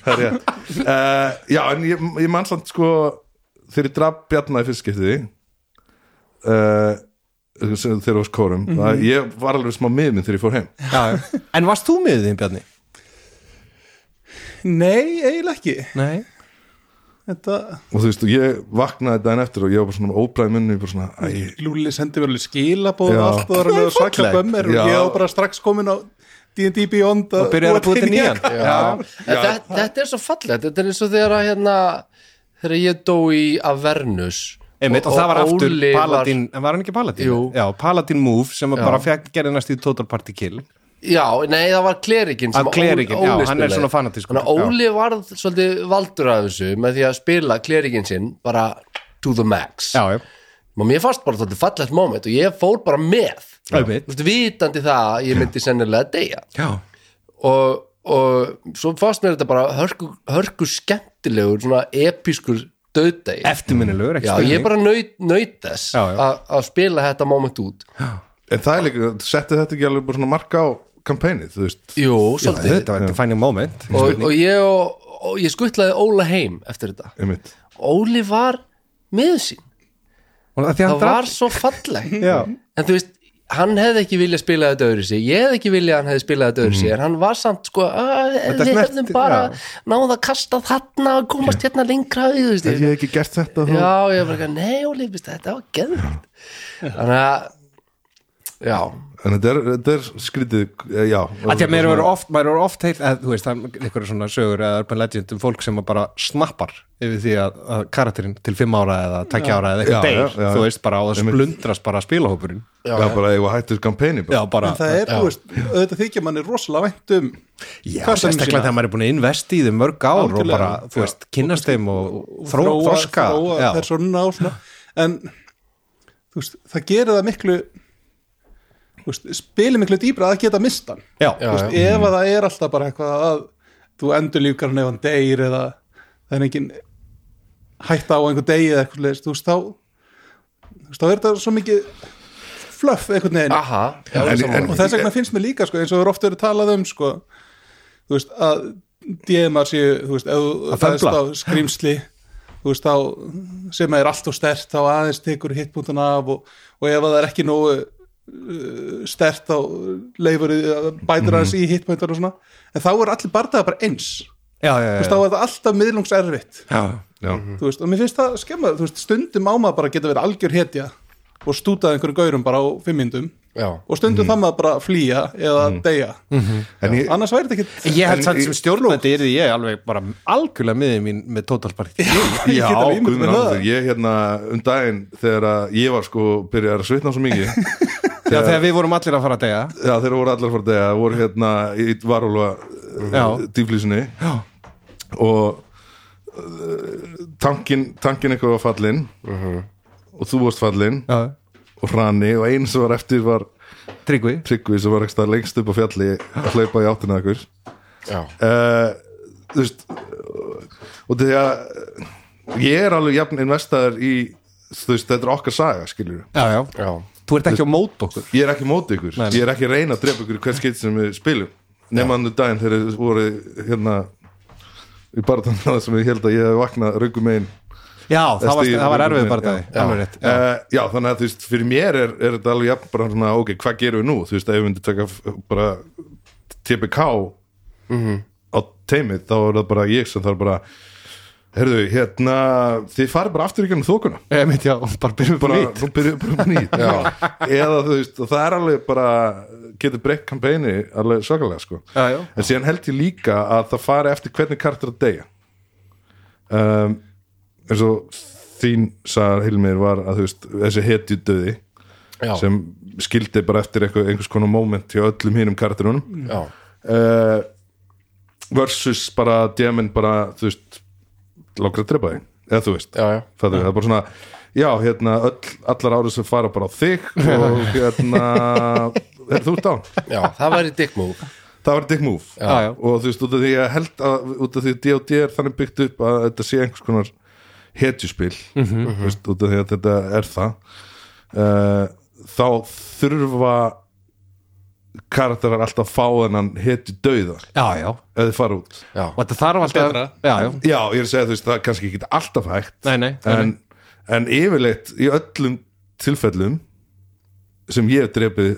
Speaker 3: Það er rétt uh, Já, en ég, ég man samt sko þegar ég draf Bjarna í fyrst skiptiði uh, sem- þegar ég var skórum mm ég var alveg smá miðminn þegar ég fór heim
Speaker 2: já. En varst þú með þín, Bjarni?
Speaker 4: Nei, eiginlega ekki
Speaker 2: Nei
Speaker 4: Þetta,
Speaker 3: og þú veist, og ég vaknaði daginn eftir og ég var bara svona óbræði munni bara svona, æ,
Speaker 4: Lúli sendi mér alveg skilabóð
Speaker 3: Já.
Speaker 4: og allt og það var alveg svakla bömmir og
Speaker 3: Já.
Speaker 4: ég var bara strax komin á D&D Beyond
Speaker 2: Og byrjar að búið til nýjan
Speaker 1: já, En Þetta, þetta er svo fallegt Þetta er eins og þegar að hérna þegar ég dó í Avernus
Speaker 2: Einmitt, og, það var aftur
Speaker 1: Óli var-
Speaker 2: Paladin, en var hann ekki Paladin?
Speaker 1: Jú.
Speaker 2: Já, Paladin Move sem bara fekk, gerði næstu í Total Party Kill
Speaker 1: Já, nei, það var klerikinn sem
Speaker 2: Að Ah, klerikinn,
Speaker 1: Ó-
Speaker 2: já,
Speaker 1: Óli
Speaker 2: hann er
Speaker 1: spilaði.
Speaker 2: svona fanatískur,
Speaker 1: Þannig að Óli varð svolítið valdur af þessu með því að spila klerikinn sinn bara to the max
Speaker 2: já, já,
Speaker 1: og mér fannst bara svolítið fallegt moment og ég fór bara með
Speaker 2: Einmitt.
Speaker 1: Þú veist, vitandi það að ég myndi sennilega deyja
Speaker 2: já,
Speaker 1: og, og svo fannst mér þetta bara hörku, hörku skemmtilegur svona episkur döðdegi
Speaker 2: eftirminnilegur ekki
Speaker 1: já,
Speaker 2: spurning.
Speaker 1: ég bara naut, naut þess
Speaker 2: Já, já.
Speaker 1: að að spila þetta moment út
Speaker 3: en það er líka, setti þetta ekki alveg bara svona marka á kampænið, þú veist
Speaker 1: jú,
Speaker 2: Já,
Speaker 1: svolítið
Speaker 2: þetta var þetta fæning moment
Speaker 1: og, og ég, og, og ég skuttlaði Óla heim eftir þetta
Speaker 3: einmitt.
Speaker 1: Óli var með sín
Speaker 2: og það því hann
Speaker 1: það var
Speaker 2: draf
Speaker 1: svo falleg
Speaker 2: Já.
Speaker 1: en þú veist, hann hefði ekki viljað spila þetta öðru sig, ég hefði ekki viljað að hann hefði spilað þetta öðru sig, en hann var samt sko "Ah,
Speaker 2: Þetta
Speaker 1: við
Speaker 2: snerti-
Speaker 1: hefðum bara
Speaker 2: já.
Speaker 1: náða að kasta þarna og komast hérna lengra þú veist,
Speaker 3: ég hef ekki gert þetta þá
Speaker 1: já, ég var ekki, nei Óli veist, þetta var geðvægt þannig að já,
Speaker 3: en þetta er, þetta er skrítið eh, já,
Speaker 2: að því að mér eru oft, maður eru oft heil að, þú veist, það er einhverju svona sögur eða urban legend um fólk sem að bara snappar yfir því að, að karakterinn til 5 ára eða 2 ára eða
Speaker 3: Já,
Speaker 2: eitthvað
Speaker 3: já,
Speaker 2: deyr,
Speaker 3: já.
Speaker 2: þú veist, bara og það splundrast bara spilahópurinn
Speaker 3: já, bara eigum að hættu þessu kampæni
Speaker 2: já, bara,
Speaker 4: En það er, þú veist, auðvitað þykja manni rosalega vænt um
Speaker 2: já,
Speaker 4: hvað sem
Speaker 2: sérstaklega
Speaker 4: sína.
Speaker 2: þegar maður er búin að investi í þau mörg ár og
Speaker 4: Algjörlega.
Speaker 2: bara, þú veist, kynnast þeim og, og þró, þroska,
Speaker 4: þróa
Speaker 2: já,
Speaker 4: persónuna og svona en þú veist, það gerir það miklu þú veist, spili miklu dýbra að geta mistan
Speaker 2: já,
Speaker 1: Já,
Speaker 4: Þú veist, ef að það er alltaf bara eitthvað að þú endur lífgar hann ef hann deyr eða það er engin hætta á einhver degi eða eitthvað leist, þú veist þá þú veist, þá er þetta svo mikið fluff einhvern
Speaker 2: Ah,
Speaker 4: veginn
Speaker 1: aha já,
Speaker 3: En-
Speaker 1: sammála.
Speaker 3: en-
Speaker 4: og þess vegna finnst mér líka sko, eins og við ofta eru talað um sko, þú veist að DM-ar séu, þú veist, ef þú
Speaker 2: Að fembla.
Speaker 4: fæðst á skrýmsli þú veist, þá sem er allt og stert þá aðeins tekur hitbúntuna af og, og ef það er ekki nógu uh, stert þá leifur bætur aðeins
Speaker 2: Mhm.
Speaker 4: í hitbúntunar og svona en þá er allir bardaða bara eins þú
Speaker 2: já, já, já,
Speaker 4: veist, þá er það alltaf miðlungs erfitt
Speaker 2: já,
Speaker 3: já,
Speaker 4: þú veist, og mér finnst það skemmað, þú veist, stundum á maður bara að geta verið algjör hetja og stútað einhverjum gaurum bara á fimmindum
Speaker 1: já,
Speaker 4: og stundum mm. það maður bara að flýja eða deyja,
Speaker 3: Mhm. en ég,
Speaker 4: annars væri þetta ekki
Speaker 2: Ég held
Speaker 3: En
Speaker 2: samt
Speaker 3: í-
Speaker 2: sem stjórnandi er ég alveg bara algjörlega miðið mín með tótalparti
Speaker 4: ég get alveg ímyndað
Speaker 3: Guðmund
Speaker 4: mér það.
Speaker 3: Andersen, ég hérna um daginn þegar að ég var sko byrjar að svitna svo mikið
Speaker 2: Já, þegar við vorum allir að fara að deyja
Speaker 3: já, þegar voru allar fyrir dega voru hérna í varúlfa
Speaker 2: Já.
Speaker 3: dýflísinni
Speaker 2: Já,
Speaker 3: og uh, tankin, tankin eitthvað var fallin og þú varst fallin
Speaker 2: já,
Speaker 3: og hrani og einu sem var eftir var
Speaker 2: tryggvi
Speaker 3: Tryggvi sem var ekstra lengst upp á fjalli að hlaupa í áttina að ykkur
Speaker 1: já,
Speaker 3: uh, þú veist og því að ég er alveg jafn investaður í þú veist, þetta er okkar saga, skilur
Speaker 2: Já, já,
Speaker 1: já,
Speaker 2: þú ert ekki á mót okkur
Speaker 3: ég er ekki á móti ykkur,
Speaker 2: Nei.
Speaker 3: ég er ekki að reyna að drepa ykkur í hvert skeitt sem við spilum nema andur daginn þegar þið voru hérna í barðan það sem ég held að ég hef vaknað raugum einn
Speaker 2: Já, það var, það var erfið bara
Speaker 3: já,
Speaker 2: það Alveg rétt
Speaker 3: já. Eh, já, þannig að þú veist, fyrir mér er, er þetta alveg jafn bara svona, ok, hvað gerum við nú þú veist, ef við myndum taka f- bara TPK á teimið, þá er það bara ég sem þarf bara herðu, hérna þið farið bara aftur í gennum þókuna
Speaker 2: Ég mitt, já, bara byrjum
Speaker 3: bara,
Speaker 2: bara
Speaker 3: nú byrjuðu bara upp á nýtt eða þú veist, og það er alveg bara getur breytt kampæni alveg svakalega sko
Speaker 2: Já, já.
Speaker 3: en síðan held ég líka að það fari eftir hvernig kartur að deyja um, eins og þín sagði Hilmir var að þú veist, þessi hetju döði
Speaker 1: já,
Speaker 3: sem skildi bara eftir eitthvað, einhvers konar moment hjá öllum hínum karturunum
Speaker 1: já.
Speaker 3: uh, versus bara djemin bara, þú veist langar að drepa þig, eða þú veist
Speaker 1: Já, já.
Speaker 3: Fattu, það er bara svona já, hérna, öll, allar árið sem fara bara á þig og hérna er þú dán
Speaker 1: já það væri dick move
Speaker 3: það var dick move
Speaker 2: Já, já.
Speaker 3: og þú veist, út af því að held að út af því að D.O.D. er þannig byggt upp að þetta sé einhvers konar hetjuspil
Speaker 2: Mhm.
Speaker 3: þú veist, út af því að þetta er það uh, þá þurfa karakterar alltaf að fá þennan hetju dauða
Speaker 2: Já, já, og
Speaker 3: ef þið fara út
Speaker 1: já,
Speaker 2: þetta þarf alltaf
Speaker 4: Betra.
Speaker 2: Já, já,
Speaker 3: já, ég er að segja þú veist, það er kannski ekki alltaf hægt
Speaker 2: nei, nei, nei, nei.
Speaker 3: en, en yfirleitt í öllum tilfellum sem ég hef drepið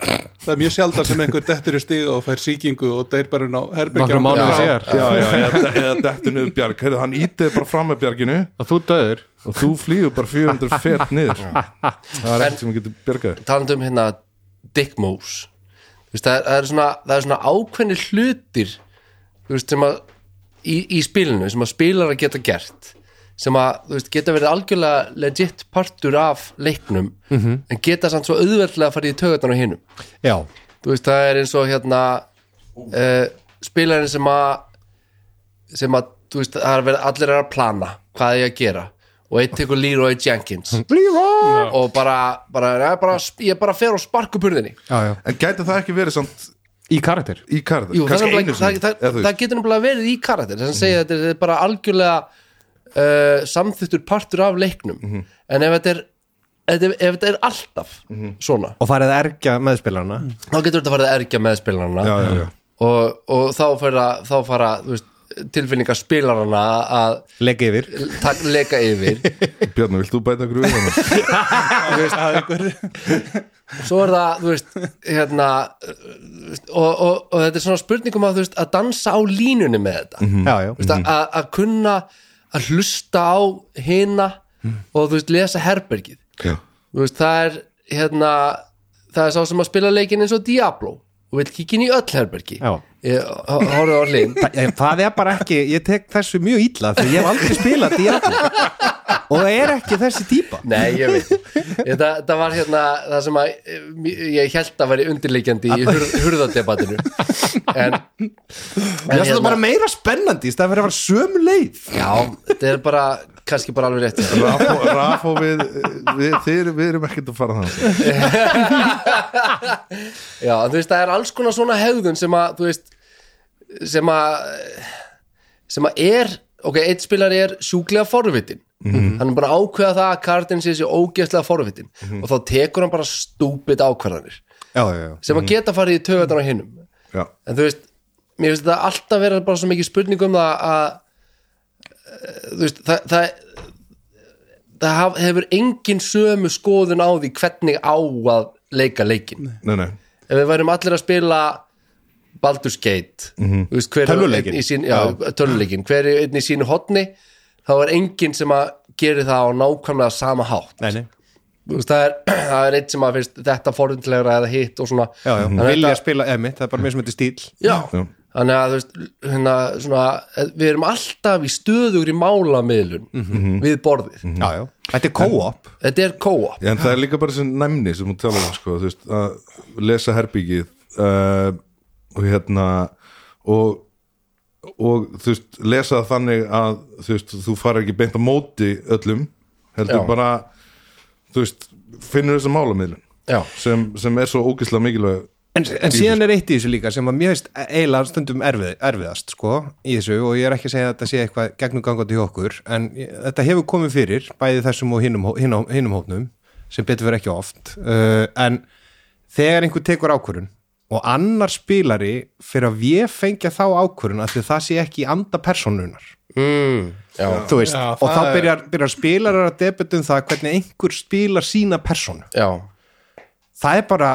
Speaker 4: það er mjög sjaldan sem einhver dettur í stíð og fær síkingu og deyr bara inn á
Speaker 2: Nokkrum
Speaker 4: herbyggja
Speaker 2: mánuðum
Speaker 1: Já.
Speaker 2: síðar
Speaker 3: já, já, eða, eða dettur niður bjarg Heyrðu, hann ítið bara fram með bjarginu
Speaker 2: og þú döður
Speaker 3: og þú flýgur bara 400 fet niður það er ekkert sem getur bjargað
Speaker 1: talandi um hérna dick moves Þú veist, það, það, er svona, það er svona ákveðni hlutir þú veist, sem að í, í spilinu, sem að spilar að geta gert sem að þú veist, geta verið algjörlega legit partur af leiknum en geta samt svo auðveldlega að fara í tögatan á hinum
Speaker 2: Já,
Speaker 1: þú veist það er eins og hérna uh, spilarinn sem að sem að þú veist það er verið allir er að plana hvað er ég að gera og einn tekur Leroy Jenkins
Speaker 2: Leroy!
Speaker 1: og bara, bara, ja, bara ég bara fer og sparku purðinni
Speaker 2: Já, já.
Speaker 3: En gæti það ekki verið samt
Speaker 2: Í karakter
Speaker 3: í karða?
Speaker 1: Jú, það,
Speaker 3: Kannski
Speaker 1: nefnilega-
Speaker 3: einu sinni,
Speaker 1: það,
Speaker 3: eða
Speaker 1: það,
Speaker 3: þú
Speaker 1: það
Speaker 3: veist.
Speaker 1: getur náttúrulega verið í karakter sem segja þetta er- þetta er bara algjörlega uh, samþyttur partur af leiknum
Speaker 3: Mhm.
Speaker 1: en ef þetta er ef, ef þetta er alltaf
Speaker 3: Mhm.
Speaker 1: svona Mm.
Speaker 2: Og farið að ergja meðspilarna
Speaker 1: þá getur þetta farið að ergja með spilarana
Speaker 3: Já, já, já.
Speaker 1: Og, og þá fara, þá fara þú veist, tilfinningar spilarana að
Speaker 2: Legg yfir
Speaker 1: tak, leka yfir
Speaker 3: Bjarni, vilt þú bæta okkur við hann?
Speaker 4: Það er einhver-
Speaker 1: svo er það, þú veist, hérna uh, þú veist, og, og, og þetta er svona spurningum að, þú veist, að dansa á línunni með þetta
Speaker 2: Mhm. Já, já
Speaker 1: Þú veist, að- að að kunna að hlusta á hina
Speaker 2: Mhm.
Speaker 1: og þú veist, lesa herbergið
Speaker 3: Já.
Speaker 1: þú veist, það er hérna, það er sá sem að spila leikinn eins og Diablo og vill kíkin í öll herbergi
Speaker 2: Já.
Speaker 1: ég ho- horfði á hlinn
Speaker 2: Þa- ég- Það er bara ekki, ég tek þessu mjög illa því ég hef aldrei spilað Diablo og það er ekki þessi típa
Speaker 1: Nei, ég veit ég, það, það var hérna það sem að eh, ég held að væri undirleikjandi í hurð, hurðadebatinu en, en hérna-
Speaker 2: Ég finnst það bara meira spennandi í stæðan fyrir að fara sömu leið
Speaker 1: Já, þetta er bara, kannski bara alveg rétt hjá þér.
Speaker 3: Rafó, Rafó við, við, þið, við erum ekkert að fara þannig
Speaker 1: Já, en þú veist, það er alls konar svona hegðun sem að, þú veist sem að sem að er, ok, eitt spilari er sjúklega forvitin hann er bara að ákveða það að kartin sé sér ógeðslega forvitin og þá tekur hann bara stúpid ákvarðanir
Speaker 2: Já, já, já
Speaker 1: sem að geta farið í tögatan á hinnum
Speaker 3: Já,
Speaker 1: en þú veist, mér finnst þetta alltaf vera bara svo mikið spurning um það að eh, þú veist, það það, það haf, hefur engin sömu skoðun á því hvernig á að leika leikin
Speaker 3: nei, nei
Speaker 1: ef við værum allir að spila Baldur's Gate þú veist, hver er
Speaker 2: Mhm. Tölvuleikinn.
Speaker 1: einn í sín, já, tölvuleikin, hver er einn í sínu hotni þá er enginn sem að gera það á nákvæmlega sama hátt
Speaker 2: Nei, nei
Speaker 1: Þú veist, það, er, það er eitt sem að finnst þetta forundlegra eða hitt og svona
Speaker 2: Já, já,
Speaker 1: Þannig að
Speaker 2: vilja
Speaker 1: þetta-
Speaker 2: spila emitt, það er bara mjög sem þetta stíl
Speaker 1: Já,
Speaker 3: Já.
Speaker 1: þannig að þú veist hérna, svona, við erum alltaf í stöðugri málamiðlun
Speaker 2: Mhm.
Speaker 1: við borðið.
Speaker 2: Já, já, þetta er co-op
Speaker 1: Þetta er co-op
Speaker 3: En það er líka bara sem næmni sem hún talar um sko, þú veist, að lesa herbyggið uh, og hérna og, og þú veist, lesa það þannig að þú veist, þú fara ekki beint á móti öllum, heldur
Speaker 1: Já.
Speaker 3: bara þú veist, finnur þessa málamiðlun
Speaker 1: Já,
Speaker 3: sem, sem er svo ógislega mikilvæg
Speaker 2: En, en síðan er eitt í þessu líka sem að mér veist eiginlega stundum erfið, erfiðast sko í þessu og ég er ekki að segja að þetta sé eitthvað gegnum gangandi hjá okkur en ég, þetta hefur komið fyrir bæði þessum og hinum, hó- hinum, hinum hópnum sem betur fyrir ekki oft uh, en þegar einhver tekur ákvörun og annar spilari fyrir að við fengja þá ákvörun að því það sé ekki í anda persónunar
Speaker 1: já,
Speaker 2: þú veist,
Speaker 4: Já,
Speaker 2: og
Speaker 4: það
Speaker 2: þá
Speaker 4: er-
Speaker 2: byrjar, byrjar spilarar að debutum það hvernig einhver spilar sína persónu
Speaker 1: já,
Speaker 2: það er bara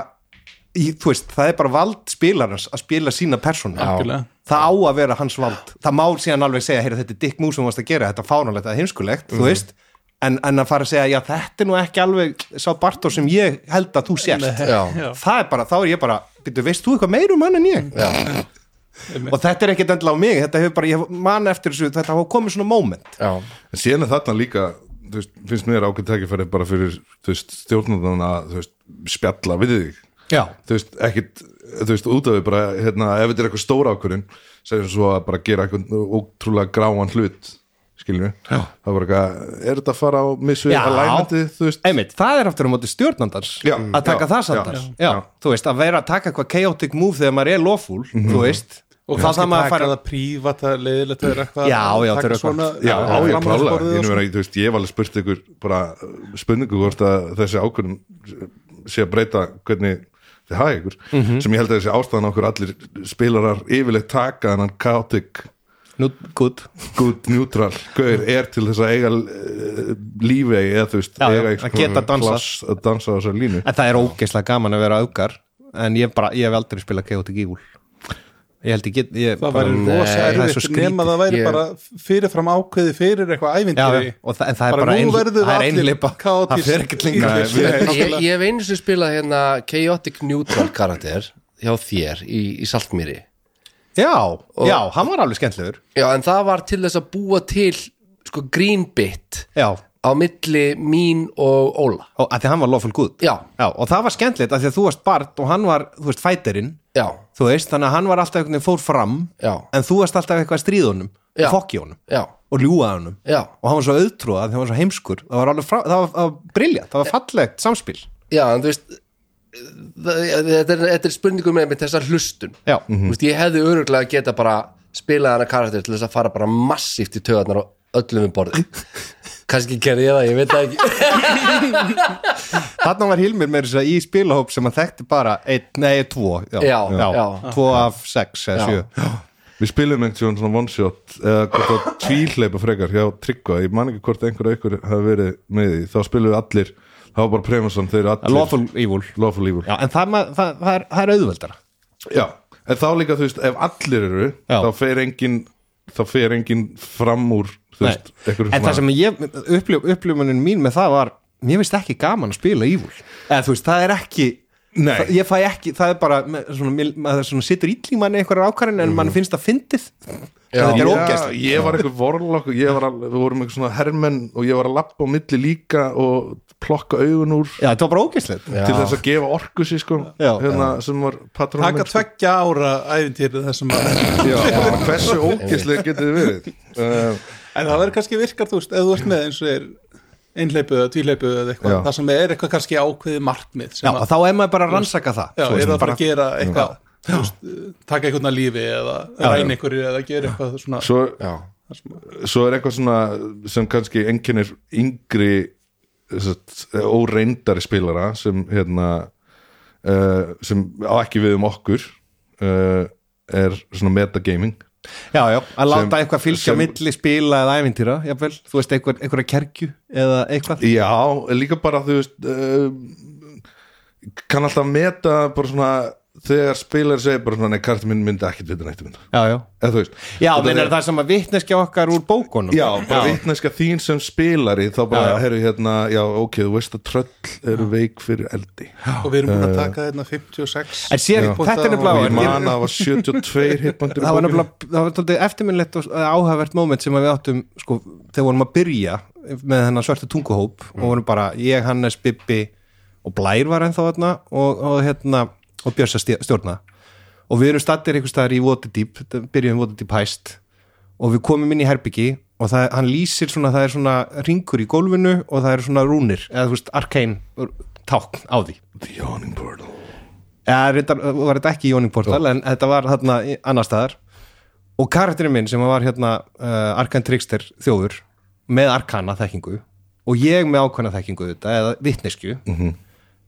Speaker 2: í, þú veist, það er bara vald spilarans að spila sína persónu
Speaker 4: Algjörlega.
Speaker 2: það á að vera hans vald það má síðan alveg segja, heyrðu þetta er Dick Moose sem varst að gera þetta er fánalegt að heimskulegt, þú veist en, en að fara að segja, já þetta er nú ekki alveg sá Bartó sem ég held að þú sért
Speaker 1: já,
Speaker 4: Já.
Speaker 2: það er bara, þá er ég bara byrju, veist þú eitthvað meira um hann en ég
Speaker 1: já,
Speaker 2: og þetta er ekkert endilega á mig, þetta hefur bara ég man eftir þessu, þetta hafa komið svona moment
Speaker 1: já,
Speaker 3: en síðan er þarna líka þú veist, finnst mér ákveð tækifæri bara fyrir þú veist, stjórnundan að þú veist, spjalla við þig
Speaker 2: já,
Speaker 3: þú veist, ekkit, þú veist, út af því bara, hérna, ef þetta er eitthvað stóra ákvörðin segjum svo að bara gera eitthvað ótrúlega gráan hlut, skiljum við það er bara eitthvað, er þetta að fara á missu
Speaker 2: Já.
Speaker 3: að lænandi, þú veist
Speaker 2: einmitt, það er aftur á móti stjórnandans
Speaker 3: Já,
Speaker 2: að taka
Speaker 3: já,
Speaker 2: það
Speaker 3: já,
Speaker 2: samtals já,
Speaker 3: já.
Speaker 2: þú veist, að vera að taka eitthvað chaotic move þegar maður er lofúl, þú veist Mhm.
Speaker 4: og
Speaker 2: og það það
Speaker 4: kannski
Speaker 2: maður að
Speaker 4: taka
Speaker 2: fara
Speaker 4: það prívat að leiðilegt að vera eitthvað
Speaker 2: Já, já,
Speaker 4: að
Speaker 2: þetta er
Speaker 4: taka
Speaker 2: eitthvað-
Speaker 4: svona
Speaker 3: Já, já, já, já klálega,
Speaker 4: framhaldsborðið og
Speaker 3: ég,
Speaker 4: svona.
Speaker 3: meina, þú veist, ég hef alveg spurt ykkur bara spurningu hvort að þessi ákvörðum sé að breyta hvernig þið hafa ykkur, sem ég held að þessi ástæðan okkur allir spilarar yfirleitt taka þannig chaotic,
Speaker 2: nú, gud,
Speaker 3: good, neutral gaur er til þess að eiga uh, lífi eða þú veist,
Speaker 2: Já, já,
Speaker 3: eiga
Speaker 2: að geta dansað.
Speaker 3: pláss að dansa á þessar línu
Speaker 2: en það er ógeðslega gaman að vera aukar en ég, bara, ég hef aldrei spilað chaotic evil ég held ég get ég,
Speaker 4: það
Speaker 2: bara-
Speaker 4: væri rosa
Speaker 2: það er svo
Speaker 4: erfitt
Speaker 2: skrítið.
Speaker 4: nema það væri
Speaker 1: Ég-
Speaker 4: bara fyrirfram ákveði fyrir eitthvað
Speaker 2: já,
Speaker 4: ævindýri
Speaker 2: já, og það, en það er
Speaker 4: Bara
Speaker 2: bara
Speaker 4: nú
Speaker 2: ein-
Speaker 4: verðum við
Speaker 2: það er
Speaker 4: allir
Speaker 2: einleipa það
Speaker 4: kaotísk-
Speaker 2: fer ekkert lengra
Speaker 4: Nei,
Speaker 2: Nei,
Speaker 4: við-
Speaker 1: ég, ég hef einu sem spilað hérna chaotic neutral karakter hjá þér í, í Saltmýri
Speaker 2: já, já, hann var alveg skemmtlegur
Speaker 1: já, en það var til þess að búa til sko green bit
Speaker 2: já,
Speaker 1: á milli mín og Óla
Speaker 2: og að því hann var lawful good
Speaker 1: Já.
Speaker 2: og það var skemmtilegt að því að þú varst barn og hann var, þú veist, fæterinn
Speaker 1: já,
Speaker 2: þú veist, þannig að hann var alltaf einhvern veginn fór fram
Speaker 1: Já.
Speaker 2: en þú varst alltaf eitthvað að stríða honum
Speaker 1: Já.
Speaker 2: og fokki honum
Speaker 1: já,
Speaker 2: og ljúga honum
Speaker 1: já,
Speaker 2: og hann var svo auðtrúa því hann var svo heimskur það var alveg frá, það var, það var briljant, það var fallegt samspil
Speaker 1: já en þú veist það- þetta er, þetta er spurningum með þessar hlustun
Speaker 2: Já.
Speaker 1: Þú veist, ég hefði öruglega geta bara spilað hana karakter til þess að fara bara massíft í töðarnar og öllum um borði kannski gerði ég það, ég veit það ekki
Speaker 2: þarna var Hilmir með þess að segja í spilahóp sem hann þekkti bara einn, nei, tvo já,
Speaker 1: Já, já.
Speaker 2: tvo af sex eða sjö
Speaker 3: Við spilum einhvern tíðan svona one shot eða hvort það tvíhleipa frekar hjá Tryggva, ég man ekki hvort einhver og ykkur hafi verið með því, þá spilum við allir það var bara premissan, þeir eru allir
Speaker 2: lawful evil
Speaker 3: lawful evil.
Speaker 2: já, en það, ma- það, það, er, það er auðveldara
Speaker 3: Já, en þá líka þú veist, ef allir eru
Speaker 2: Já.
Speaker 3: þá fer engin þá fer engin fram úr þú veist,
Speaker 2: Nei.
Speaker 3: einhverjum
Speaker 2: en það sem ég, upplif, upplifunin mín með það var mér finnst ekki gaman að spila evil eða þú veist, það er ekki
Speaker 3: Nei.
Speaker 2: Það, ég fæ ekki, það er bara með- svona, mér- maður er svona situr ítl í manni einhverjar ákvarðin en mann finnst það fyndið
Speaker 1: Já.
Speaker 2: þetta er
Speaker 3: Já,
Speaker 2: ógæst
Speaker 3: ég var eitthvað vorlokk og ég var alveg, við vorum eitthvað svona hermenn og ég var að lappa á milli líka og plokka augun úr
Speaker 2: Já, þetta var bara ógæslegt
Speaker 1: Já.
Speaker 3: til þess að gefa orku sér sko
Speaker 2: Já,
Speaker 3: hérna, sem var patrónum sko.
Speaker 4: taka tveggja ára æfintýrið þessum að
Speaker 3: Já, bara hversu ógislega getur þið verið uh,
Speaker 4: en það verður kannski virkar þú veist ef þú ert með eins og er einhleipu eða tvíhleipu eða eitthvað
Speaker 3: Já.
Speaker 4: það sem er eitthvað kannski ákveði markmið
Speaker 2: Já,
Speaker 4: sem
Speaker 2: og
Speaker 4: að,
Speaker 2: þá er maður bara að rannsaka það
Speaker 4: já,
Speaker 2: Svo
Speaker 4: er
Speaker 2: sem
Speaker 4: það bara
Speaker 2: bara,
Speaker 4: að gera eitthvað þú veist, taka einhvern að lífi eða ræna einhverju eða gera eitthvað svona
Speaker 3: svo,
Speaker 1: já,
Speaker 3: svo er eitthvað svona sem kannski enginnir yngri satt, óreindari spilara sem hérna uh, sem á ekki við um okkur uh, er svona metagaming
Speaker 2: já, já, að
Speaker 3: Sem-
Speaker 2: láta eitthvað fylgja
Speaker 3: sem-
Speaker 2: sem, milli spila eða ævintýra, jafnvel, þú veist, einhver, einhverja kerkju eða eitthvað
Speaker 3: Já, líka bara þú veist uh, kann alltaf meta bara svona þegar spilar segir bara svona, nei, kartin minn myndi ekki vita neitt um þetta
Speaker 2: Já, já,
Speaker 3: eða þú veist
Speaker 2: já,
Speaker 3: Þetta
Speaker 2: menn
Speaker 3: er-
Speaker 2: er það sem að vitneskja okkar úr bókunum
Speaker 3: Já, bara vitneska þín sem spilari þá bara,
Speaker 2: Já, já.
Speaker 3: herru, hérna, já, ok, þú veist að tröll eru veik fyrir eldi
Speaker 4: og við erum búin að taka þarna 56
Speaker 2: En sér, þetta er
Speaker 3: og
Speaker 2: nefnilega
Speaker 3: ég man að það var 72 hitbandur í
Speaker 2: það var
Speaker 3: bókinni.
Speaker 2: nefnilega, það var tóldið eftirminnlegt og áhæfvert moment sem að við áttum sko, þegar vorum að byrja með þennan svörtu tunguhóp og vorum bara ég, Hannes, Bibbi og Blær var ennþá þarna og, og, hérna, og Björsa stjórna og við erum stattir einhvers staðar í Waterdeep þetta- byrjum Waterdeep hæst og við komum inn í herbyggi og það, hann lýsir svona, það er svona ringur í gólfinu og það eru svona rúnir eða þú veist, arkein tákn á því
Speaker 3: The Yawning Portal
Speaker 2: Já, reyndar, var þetta ekki í Jóning Portal en þetta var hérna í- annar staðar og karakterinn minn sem var hérna uh, Arkan Trickster þjófur með Arkana þekkingu og ég með ákvæmna þekkingu þetta eða vitneskju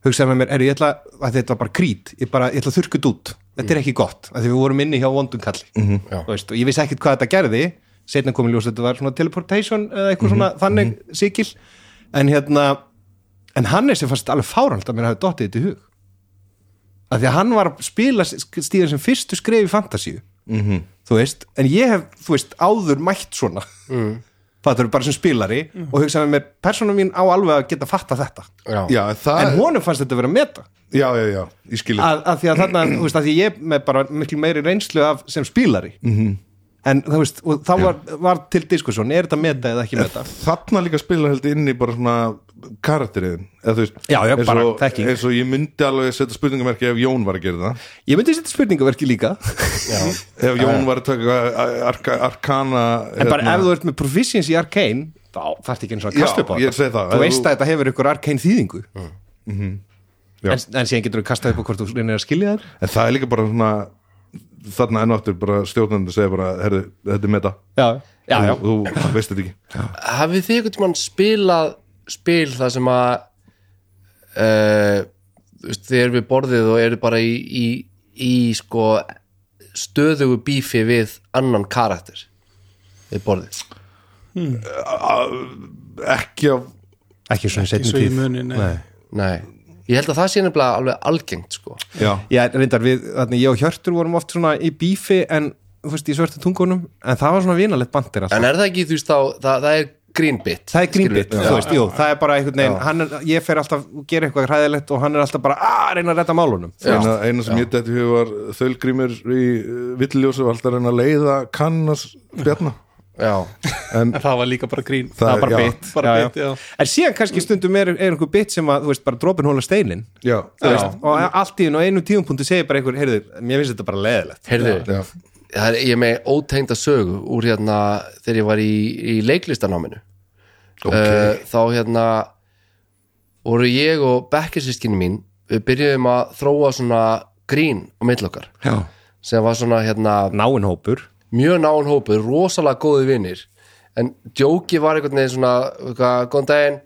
Speaker 2: hugsaði með mér, er ég ætla að þetta var bara krít, ég bara, ég ætla að þurrkut út þetta er ekki gott, af því við vorum inni hjá vondunkalli mm
Speaker 1: Já.
Speaker 2: veist, og ég vissi ekkit hvað þetta gerði setna komin ljós að þetta var svona teleportation eða eitthvað svona þannig mm sikil en hérna, en Hannes sem fannst alveg fáralt að mér hafi dottið þetta í hug af því að hann var að spila stíðan sem fyrstu skref í fantasíu -hmm. þú veist, en ég hef, þú veist, áður mætt svona mm. það eru bara sem spilari og hugsaði með mér, persónum mín á alveg að geta fatta þetta
Speaker 1: já,
Speaker 3: Já, það,
Speaker 2: en honum fannst þetta vera meta
Speaker 3: já, já, já, ég skil
Speaker 2: að, að því að þarna, þú veist, að því ég er með bara miklu meiri reynslu af sem spílari -hmm. en þú veist, og þá var, var til diskusjón, er þetta meta eða ekki meta
Speaker 3: Þarna líka spilar heldur inn í bara svona karakterið, eða þú veist
Speaker 2: Já, já,
Speaker 3: eins
Speaker 2: bara
Speaker 3: og-
Speaker 2: þekking.
Speaker 3: eins og ég myndi alveg setja spurningamerki ef Jón var að gera það
Speaker 2: ég myndi setja spurningaverki líka
Speaker 3: ef Jón var að taka arka, arkana
Speaker 2: en bara ef þú ert með proficiency í arcane þá þarf ekki eins og að
Speaker 3: Hérna- Já,
Speaker 2: kasta upp á
Speaker 3: ég segi það.
Speaker 2: þú
Speaker 3: Ef
Speaker 2: veist
Speaker 3: þú- Mm. Mm-hmm.
Speaker 2: að þetta hefur ykkur arcane þýðingu Mhm.
Speaker 3: Já.
Speaker 2: en, en síðan getur þú kastað upp á hvort þú reynir að skilja þær
Speaker 3: En það er líka bara svona þarna enn og aftur bara stjórnandi segja bara, herri, þetta er meta
Speaker 2: já, já, já,
Speaker 3: Þú, þú veist þetta ekki
Speaker 1: hafið þið einhvern tímann spilað spil það sem að uh, þið eru við borðið og eru bara í, í, í sko stöðugu bífi við annan karakter við borðið
Speaker 3: ekki af
Speaker 2: ekki svona setjum
Speaker 4: svo í muni, nei.
Speaker 1: nei, ég held að það sé nefnilega alveg algengt sko
Speaker 3: já,
Speaker 2: Já, reyndar við, þannig ég og Hjörtur vorum oft svona í bífi en, þú veist, í svörtu tungunum en það var svona vinalegt bandir alltaf
Speaker 1: en er það ekki þú veist þá, það, það er grínbit
Speaker 2: Það er grínbit, þú veist, jú, það er bara einhvern veginn, hann er, ég fer alltaf og gera eitthvað hræðilegt og hann er alltaf bara að reyna að redda málunum
Speaker 3: eina, eina sem ég dætti eh, hug var þölgrímur í villiljósu var alltaf að reyna að leiða kannas bjarna
Speaker 1: já,
Speaker 3: en
Speaker 4: en það var líka bara grín
Speaker 3: Það
Speaker 2: það var bara
Speaker 3: já.
Speaker 2: bit
Speaker 4: Bara
Speaker 2: Já, já.
Speaker 4: bit, já.
Speaker 2: en síðan kannski stundum er, er einhver bit sem að, þú veist, bara dropin hóla steinin
Speaker 3: já,
Speaker 2: þú veist, og allt í einu á einu tíumpunktu segir bara einhver, heyrðu, mér finnst þetta bara leðilegt
Speaker 1: heyrðu
Speaker 3: já,
Speaker 1: það er, ég er með ótegnda sögu úr hérna þegar ég var í, í leiklistanáminu okay. þá hérna voru ég og bekkisískinni mín við byrjuðum að þróa svona grín á milli okkar
Speaker 2: já.
Speaker 1: sem var svona hérna
Speaker 2: náinn hópur
Speaker 1: mjög náinn hópur, rosalega góði vinnir en djóki var einhvern veginn svona eitthvað, góðan daginn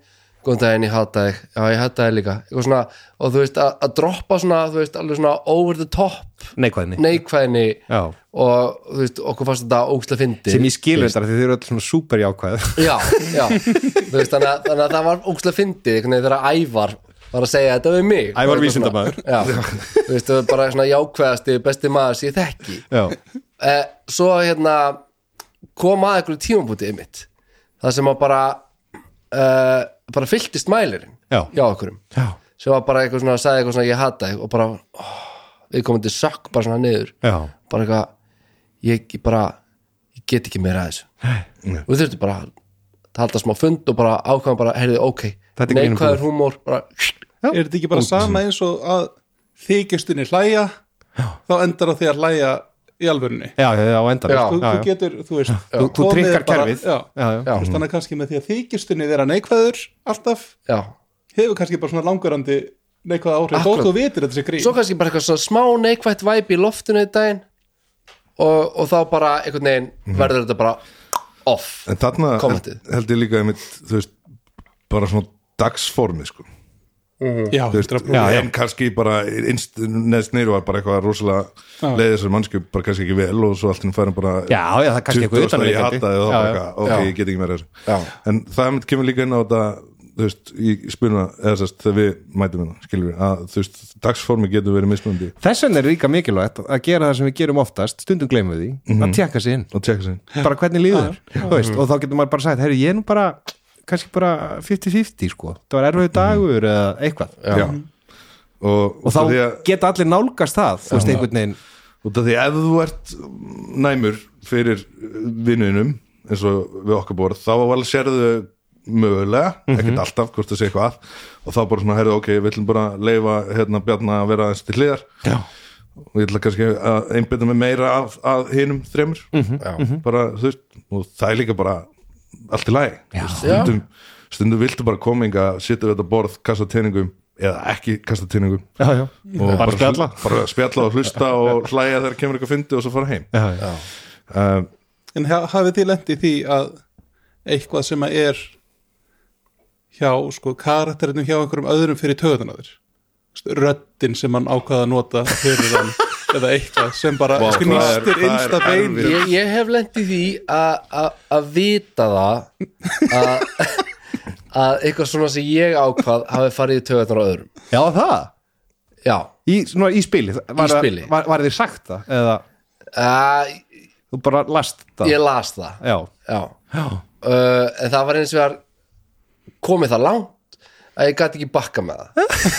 Speaker 1: góðan daginn, ég hata þig, já ég hata þig líka eitthvað svona, og þú veist, að, að droppa svona þú veist, alveg svona over the top
Speaker 2: neikvæðni
Speaker 1: neikvæðinni
Speaker 2: Já.
Speaker 1: og þú veist, okkur fannst þetta ógstlega fyndi
Speaker 2: sem ég skilur þetta því þið eru alltaf svona super jákvæð
Speaker 1: já, já, þú veist, þannig að, þannig að það var ógstlega fyndi, einhvern veginn þegar Ævar var að segja þetta við mig
Speaker 2: Ævar
Speaker 1: Og eitthvað svona-
Speaker 2: vísindamaður.
Speaker 1: já, þú veist, það var bara svona jákvæðasti besti maður sem ég þekki
Speaker 2: já,
Speaker 1: eh, svo hérna kom að einhverju tímabútið mitt það sem að bara eh, bara fylltist mælirinn
Speaker 2: Já.
Speaker 1: hjá okkurum
Speaker 2: já,
Speaker 1: sem var bara eitthvað svona að sagði eitthvað svona ég hata þig og bara oh, við komum til sökk bara svona niður
Speaker 2: já
Speaker 1: bara eitthvað ég, ég bara ég get ekki meira að þessu og við þurftum bara að halda smá fund og bara ákvæðum bara heyrðu ok
Speaker 2: Þetta er grínum
Speaker 1: neikvæður húmór bara
Speaker 4: er þetta ekki bara sama eins og að þykjastunni hlæja þá endar á því að hlæja í alvörunni
Speaker 2: já, já, já, á endan
Speaker 1: Já.
Speaker 4: þú,
Speaker 2: já,
Speaker 4: þú getur, þú veist
Speaker 2: Þú- þú
Speaker 4: komið
Speaker 2: trikkar
Speaker 4: bara-
Speaker 2: kerfið.
Speaker 4: já,
Speaker 2: Já, já.
Speaker 4: Þú veist, þannig að kannski með því að þykjastunni þeirra neikvæður alltaf
Speaker 1: já
Speaker 4: hefur kannski bara svona langurandi neikvæða áhrif þó
Speaker 1: Akkurat.
Speaker 4: þú vitir að þetta sé grín
Speaker 1: svo kannski bara eitthvað svona smá neikvætt væp í loftinu í daginn og, og þá bara einhvern veginn verður þetta bara off
Speaker 3: en þarna held,
Speaker 1: Kommentið.
Speaker 3: held ég líka einmitt, þú veist, bara svona dagsformið sko
Speaker 4: já,
Speaker 3: Þú veist,
Speaker 4: já,
Speaker 3: en kannski bara innst, neðst neyru var bara eitthvað rosalega leiði þessar mannsku bara kannski ekki vel og svo allt henni færum bara
Speaker 2: Já, já, það er kannski eitthvað
Speaker 3: 20 ástæða, ég
Speaker 2: utanveikandi.
Speaker 3: hata þig og þá
Speaker 2: Já,
Speaker 3: bara
Speaker 2: já.
Speaker 3: eitthvað, ok,
Speaker 1: Já.
Speaker 3: ég get ekki meira þessu
Speaker 1: Já.
Speaker 3: en það einmitt kemur líka inn á þetta þú veist, í spuna eða sérst þegar við mætum hérna, skilur við að þú veist, dagsformi getur verið mismunandi
Speaker 2: þess vegna er líka mikilvægt að gera það sem við gerum oftast stundum gleymum við því, að tjekka sig inn
Speaker 3: og tjekka sér
Speaker 2: bara hvernig líður, þú veist, og þá getur maður bara sagt herri, ég er nú bara, kannski bara 50-50 sko, það var erfiðu dagur eða eitthvað,
Speaker 3: Já. og,
Speaker 2: og þá
Speaker 3: út af því að-
Speaker 2: geta allir nálgast það, þú veist, einhvern veginn
Speaker 3: út af því ef þú ert næmur fyrir vinninum eins og við okkar borð þá alveg sérðu mögulega ekkert alltaf, hvort það sé eitthvað og þá bara svona, heyrðu, ok, við ætlum bara að leifa hérna Bjarna að vera aðeins til hliðar
Speaker 2: já,
Speaker 3: og ég ætla kannski að einbytta mig meira af, að hinum þremur bara, þú veist, og það er líka bara allt í lagi Þú veist, stundum, stundum viltu bara kominga sitja við þetta borð, kasta teiningum eða ekki kasta teiningum
Speaker 2: já, já,
Speaker 3: og
Speaker 2: bara spjalla
Speaker 3: bara spjalla og hlusta og hlæja þegar kemur eitthvað fyndi og svo fara heim
Speaker 2: já, já.
Speaker 3: uh,
Speaker 4: en ha- hafið þið lent í því að eitthvað sem að er hjá sko karakterinum hjá einhverjum öðrum fyrir töðan að þér röddin sem hann ákvaða að nota fyrir hann eða eitthvað sem bara sko,
Speaker 3: Vá,
Speaker 4: wow,
Speaker 3: það er-
Speaker 4: nýstir
Speaker 3: það er
Speaker 4: einsta
Speaker 3: erfitt.
Speaker 4: beini
Speaker 1: ég, ég hef lent í því að- að að vita það að að eitthvað svona sem ég ákvað hafi farið í töðunar á öðrum
Speaker 2: já, það
Speaker 1: já,
Speaker 2: Í, svona, í spili, var,
Speaker 1: Í spili.
Speaker 2: var, var þér sagt það eða
Speaker 1: uh,
Speaker 2: þú bara last það
Speaker 1: ég las það
Speaker 2: já,
Speaker 1: já.
Speaker 2: já,
Speaker 1: Uh, en það var eins og að komið það langt að ég gæti ekki bakka með það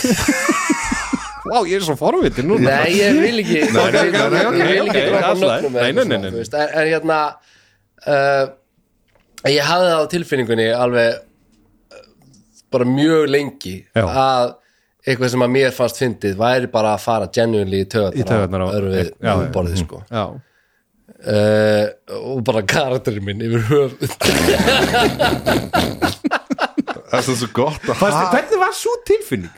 Speaker 2: vá, ég er svo forvitin núna
Speaker 1: Nei, ég vil ekki Ég
Speaker 3: nei,
Speaker 1: vil
Speaker 3: nei,
Speaker 1: ekki-
Speaker 2: nei,
Speaker 1: ég vil ekki
Speaker 2: ok,
Speaker 1: droppa
Speaker 2: allt í lagi.
Speaker 1: nöfnum
Speaker 2: Nei,
Speaker 1: eða
Speaker 2: nei, nei,
Speaker 1: eitthvað svona,
Speaker 2: nei.
Speaker 1: þú veist, En en hérna uh, Ég hafði það á tilfinningunni alveg uh, bara mjög lengi
Speaker 2: Já.
Speaker 1: að eitthvað sem að mér fannst fyndið væri bara að fara genuinely í
Speaker 2: Í taugarnar
Speaker 1: töðunar
Speaker 2: á-
Speaker 1: öðru
Speaker 2: Já,
Speaker 1: við
Speaker 2: Mm. já.
Speaker 1: borðið sko
Speaker 2: já,
Speaker 1: uh, og bara karakterinn minn yfir höf
Speaker 3: það er svo gott að
Speaker 2: Fast, hvernig var svo tilfinning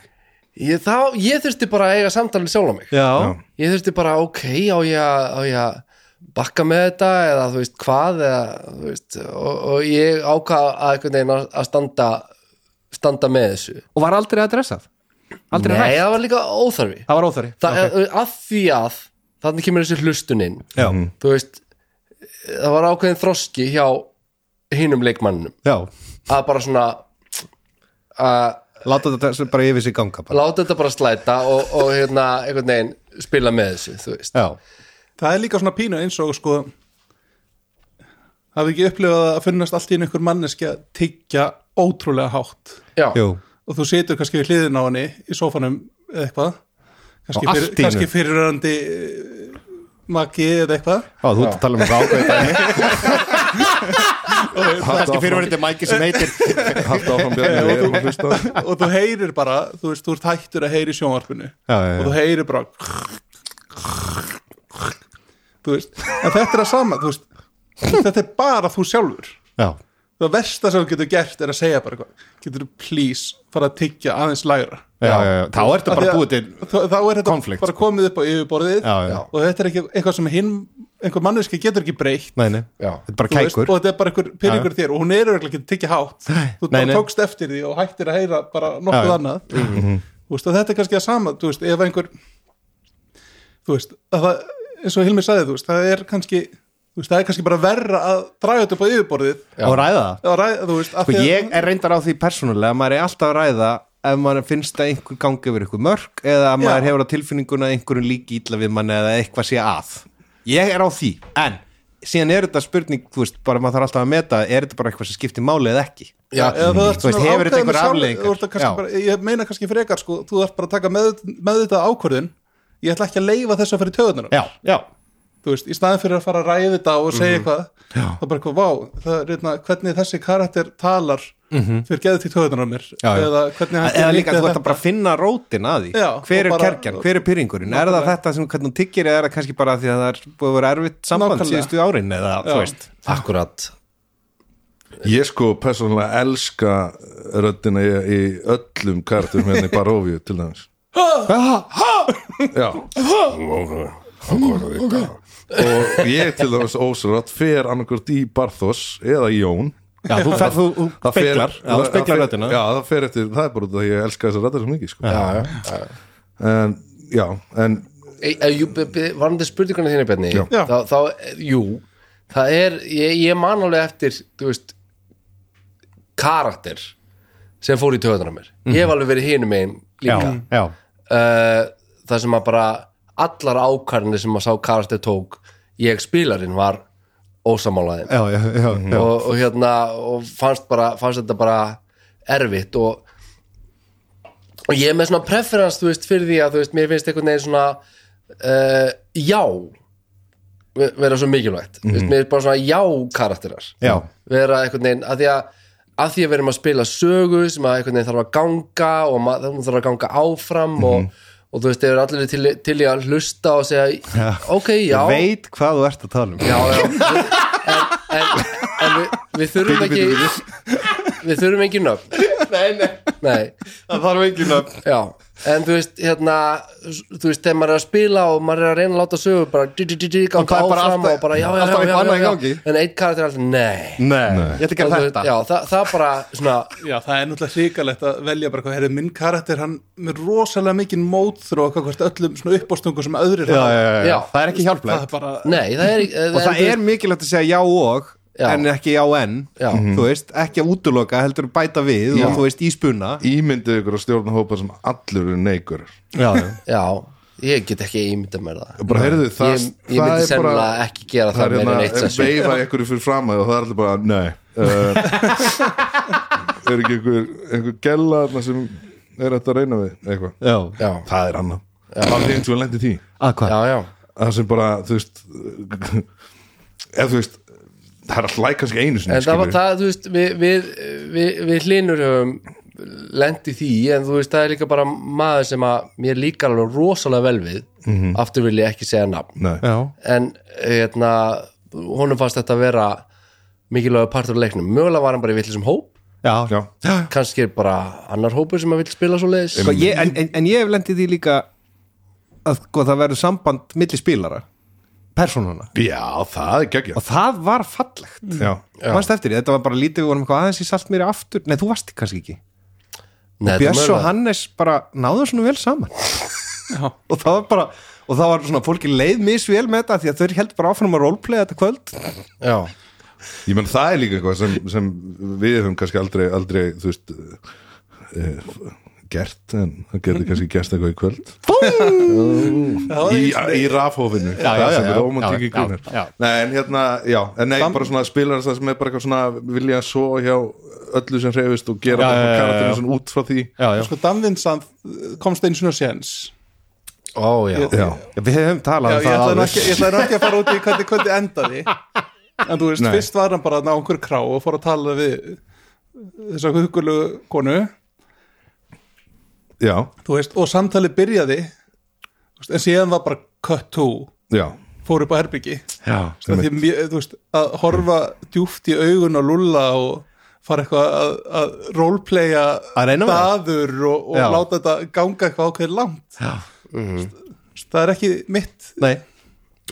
Speaker 1: ég, þá, ég þurfti bara að eiga samtalið sjálf á mig
Speaker 2: já,
Speaker 1: ég þurfti bara ok, á ég að- á ég að bakka með þetta eða þú veist hvað eða, þú veist, og, og ég ákvað að einhvern veginn að að standa standa með þessu
Speaker 2: og var aldrei að dressað aldrei
Speaker 1: Nei,
Speaker 2: hægt,
Speaker 1: það var líka óþarfi
Speaker 2: það var óþari
Speaker 1: það, eh, að því að þannig kemur þessi hlustuninn
Speaker 2: já,
Speaker 1: þú veist, það var ákveðin þroski hjá hinum leikmannum
Speaker 2: já,
Speaker 1: að bara svona að
Speaker 2: láta þetta bara yfir sig ganga bara.
Speaker 1: láta þetta bara slæta og, og hérna einhvern veginn spila með þessu, þú veist
Speaker 2: já,
Speaker 4: það er líka svona pínu eins og sko hafið ekki upplifað að finnast allt í einu einhver manneski að tyggja ótrúlega hátt
Speaker 1: Já,
Speaker 2: jú,
Speaker 4: og þú situr kannski við hliðin á henni í sófanum eða eitthvað kannski,
Speaker 2: Og allt í
Speaker 4: fyrir,
Speaker 2: einu.
Speaker 4: kannski fyrirrandi eh, maki eða eitthvað
Speaker 2: já, þú ert að tala um það ákveðið
Speaker 5: kannski fyrirverðandi mæki sem heitir
Speaker 3: Hallt áfram Bjarni við erum að hlusta
Speaker 4: og þú heyrir bara, þú veist, þú ert hættur að heyri sjónvarpinu
Speaker 2: Já, já, já.
Speaker 4: og þú heyrir bara þú veist en þetta er að sama, þú veist þetta er bara þú sjálfur
Speaker 2: já,
Speaker 4: það versta sem þú getur gert er að segja bara eitthvað getur þú please fara að tyggja aðeins lægra
Speaker 2: já, já, já. þá ertu
Speaker 4: Af því
Speaker 2: bara
Speaker 4: að-
Speaker 2: búið til
Speaker 4: þá, þá er þetta
Speaker 2: konflikt, sko.
Speaker 4: bara komið upp á yfirborðið
Speaker 2: Já, já.
Speaker 4: og þetta er ekki eitthvað sem hinn einhver manneski getur ekki breytt
Speaker 2: nei, nei,
Speaker 1: Já.
Speaker 2: þetta er bara
Speaker 4: þú veist,
Speaker 2: kækur
Speaker 4: og þetta er bara einhver pyrringur þér og hún er örugglega ekki að tyggja hátt þú
Speaker 2: Nei,
Speaker 4: bara
Speaker 2: nei.
Speaker 4: tókst eftir því og hættir að heyra bara nokkuð
Speaker 2: Já, Mhm, já.
Speaker 4: annað þú veist, og þetta er kannski að sama þú veist, ef einhver þú veist, að það, eins og Hilmi sagði þú veist, það er kannski þú veist, það er kannski bara verra að draga þetta upp á yfirborðið
Speaker 2: og ræða það
Speaker 4: að ræða, þú veist, af
Speaker 2: Sko
Speaker 4: því að
Speaker 2: ég er reyndar á því persónulega að maður er alltaf að ræða ef maður finnst að einhver gangi yfir einhver mörk eða að maður hefur á tilfinninguna að einhverjum líki illa við mann eða eitthvað sé að ég er á því, en síðan er þetta spurning, þú veist, bara maður þarf alltaf að meta er þetta bara eitthvað sem skiptir máli eða ekki
Speaker 1: Já,
Speaker 4: eða þú ert
Speaker 2: Þú veist,
Speaker 4: svona
Speaker 2: hefur þetta
Speaker 4: ákveðin
Speaker 2: einhver
Speaker 4: sjálf-
Speaker 2: afleiðingar?
Speaker 4: þú ert að kannski
Speaker 2: Já.
Speaker 4: bara- ég meina kannski frekar sko, þú ert bara að taka með, með þetta ákvörðin ég ætla ekki að leifa þessu að fyrir töðunar
Speaker 2: Já, já,
Speaker 4: þú veist, í staðin fyrir að fara að ræði þetta og
Speaker 2: Mhm.
Speaker 4: segja eitthvað, þá bara eitthvað, vá það er reyna, hvernig þessi karakter talar fyrir geðið til töðunar á mér
Speaker 2: Mhm. já, já.
Speaker 4: eða hvernig hann
Speaker 2: eða
Speaker 4: gerir
Speaker 2: líka
Speaker 4: þetta.
Speaker 2: þú ætti bara að finna rótin að því
Speaker 4: Já,
Speaker 2: hver
Speaker 4: og
Speaker 2: er
Speaker 4: bara-
Speaker 2: kerkjan, hver er pyrringurinn er það þetta sem hvernig hún tyggir eða er það kannski bara því að það er búið að vera erfitt samband
Speaker 4: Nákvæmlega.
Speaker 2: síðustu árin eða þú
Speaker 4: Já.
Speaker 2: veist
Speaker 1: akkurat
Speaker 3: Ég sko persónulega elska röddina í, í öllum kartum hérna í Baróvíu til dæmis Já Og ég til dæmis ósrödd fer annarkvort í Barþos eða í Jón
Speaker 2: Já, þú, fer, þú, þú
Speaker 3: Það fer-
Speaker 2: speklar, já, þú
Speaker 3: það-
Speaker 2: speklar
Speaker 3: það fer-
Speaker 2: röddina
Speaker 3: Já, það fer eftir, það er bara út af því að ég elska þessar röddar svo mikið sko.
Speaker 1: já, já.
Speaker 3: En, já, en
Speaker 1: E, e, jú, be- be- varandi spurninguna þínu Bjarni
Speaker 3: Já.
Speaker 4: Já.
Speaker 1: þá, þá, jú það er, ég, ég man alveg eftir þú veist karakter sem fór í töðunar á mér ég hef alveg verið hinum einn líka
Speaker 2: Mhm. já, já,
Speaker 1: uh, það sem að bara allar ákarnir sem að sá karakter tók ég spilarinn var ósamálaðin
Speaker 2: já, já, já, já.
Speaker 1: og, og hérna og fannst, bara, fannst þetta bara erfitt og, og ég er með svona preference þú veist, fyrir því að þú veist, mér finnst einhvern veginn svona uh, já ve- vera svo mikilvægt mm
Speaker 2: Mhm.
Speaker 1: veist, mér er bara svona já karakterar
Speaker 2: Já.
Speaker 1: vera einhvern veginn að því að að því að við erum að spila sögu sem að einhvern veginn þarf að ganga og maður hún þarf að ganga áfram
Speaker 2: Mhm.
Speaker 1: og, og þú veist, þeir eru allir til, til í að hlusta og segja, ok, já
Speaker 2: Ég veit hvað þú ert að tala um
Speaker 1: já, já en, en, en við, við þurfum ekki við þurfum ekki nöfn nei, nei,
Speaker 2: það þarf engin að
Speaker 1: já en þú veist, hérna þú veist, þegar maður er að spila og maður er að reyna að láta sögu bara dí, dí, dí, dí, ganga
Speaker 2: það er bara
Speaker 1: áfram
Speaker 2: alltaf-
Speaker 1: og bara já, já,
Speaker 2: alltaf
Speaker 1: já,
Speaker 2: eitthvað
Speaker 1: já,
Speaker 2: annað í
Speaker 1: já,
Speaker 2: gangi.
Speaker 1: já en einn karakter er alltaf, nei
Speaker 2: Nei, ég ætla ekki
Speaker 1: Og
Speaker 2: að
Speaker 1: þú
Speaker 2: þetta
Speaker 1: já, það, það bara svona,
Speaker 4: Já, það er náttúrulega hrikalegt að velja bara hvað, herri, minn karakter, hann með rosalega mikinn mótþró og hvert öllum svona uppástungu sem öðrir
Speaker 2: já,
Speaker 4: hafa.
Speaker 2: já, já, já.
Speaker 1: Já.
Speaker 2: það er ekki
Speaker 4: það
Speaker 2: hjálplegt
Speaker 4: er bara,
Speaker 1: nei, það er ekki
Speaker 2: og það er mikilvægt að segja já og
Speaker 1: Já.
Speaker 2: en ekki já en
Speaker 1: Já.
Speaker 2: þú veist, ekki að útloka heldur bæta við og þú veist í spuna
Speaker 3: ímyndið ykkur að stjórna hópa sem allir eru neikur
Speaker 2: já, já.
Speaker 1: já, ég get ekki ímynda mér það
Speaker 3: Bara heyrðu, það,
Speaker 1: ég, ég
Speaker 3: það
Speaker 1: myndi
Speaker 3: er
Speaker 1: sennilega
Speaker 3: bara
Speaker 1: ekki gera
Speaker 3: það
Speaker 1: það
Speaker 3: er
Speaker 1: meira en eitt
Speaker 3: hérna
Speaker 1: sessu
Speaker 3: veifa ykkur fyrir fram að það og það er allir bara, nei uh, er ekki einhver einhver gella þarna sem er þetta að reyna við eitthvað,
Speaker 2: já,
Speaker 1: já,
Speaker 3: það er annað það er eins og lendi því
Speaker 2: að hvað?
Speaker 1: já, já
Speaker 3: það sem bara, þú veist ef þú veist það er alltaf læk kannski einu sinni
Speaker 1: en það var
Speaker 3: skilurðu.
Speaker 1: það, þú veist, við við, við, við hlinur höfum lendi því, en þú veist, það er líka bara maður sem að mér líkar alveg rosalega vel við,
Speaker 3: Mhm.
Speaker 1: aftur vil ég ekki segja nafn,
Speaker 3: nei,
Speaker 2: Já.
Speaker 1: en hérna, honum fannst þetta að vera mikilvægur partur af leiknum mögulega var hann bara í villisum hóp,
Speaker 2: Já.
Speaker 3: já,
Speaker 1: kannski er bara annar hópur sem að vill spila svo leiðis
Speaker 2: Sko, ég, en, en, en ég hef lendið því líka að sko, það verður samband milli spilara persónuna
Speaker 3: já, það er geggja
Speaker 2: og það var fallegt
Speaker 3: já,
Speaker 2: Manstu eftir því, þetta var bara lítið við vorum eitthvað aðeins í salt mér aftur, nei þú varst kannski ekki
Speaker 1: Nei,
Speaker 2: Björns
Speaker 1: það er
Speaker 2: og Hannes bara náðu svona vel saman og það var bara og það var svona fólki leið misvel með þetta því að þau heldur bara áfram að roleplaya þetta kvöld
Speaker 1: mögulega. já,
Speaker 3: ég menn það er líka eitthvað sem, sem við höfum kannski aldrei, aldrei þú veist uh, gert en það getur kannski gert eitthvað í kvöld í, í rafhófinu
Speaker 2: Já,
Speaker 3: það
Speaker 2: já,
Speaker 3: sem
Speaker 2: já,
Speaker 3: er
Speaker 2: já,
Speaker 3: romantík í
Speaker 2: já,
Speaker 3: grunar
Speaker 2: já.
Speaker 3: nei, en hérna, já, en nei, bara svona spilar það sem er bara eitthvað svona vilja svo hjá öllu sem hreyfist og gera
Speaker 2: Já, já, já, já.
Speaker 3: karakterinu svona út frá því
Speaker 2: já, já.
Speaker 4: sko, Danvinsand komst einu svona séns.
Speaker 1: ó já
Speaker 3: já,
Speaker 2: við hefum talað
Speaker 4: Já,
Speaker 2: um
Speaker 4: ég
Speaker 2: það
Speaker 4: ætlaði nú
Speaker 2: áður.
Speaker 4: ekki, ég ætlaði nú ekki að fara út í hvernig hvernig endaði. en þú veist,
Speaker 3: Nei.
Speaker 4: fyrst var hann bara á einhver krá og fór að tala við þessa hugulegu konu
Speaker 3: já,
Speaker 4: þú veist, og samtalið byrjaði þú veist, en síðan var bara cut to
Speaker 3: já,
Speaker 4: fór upp á herbyggi
Speaker 3: já
Speaker 4: að, því, mjö- þú veist, að horfa djúft í augun og lulla og fara eitthvað að, að roleplaya
Speaker 2: Að reyna við það.
Speaker 4: daður og,
Speaker 2: Já.
Speaker 4: og láta þetta ganga eitthvað ákveðið langt
Speaker 2: Já.
Speaker 4: það er ekki mitt
Speaker 2: Nei,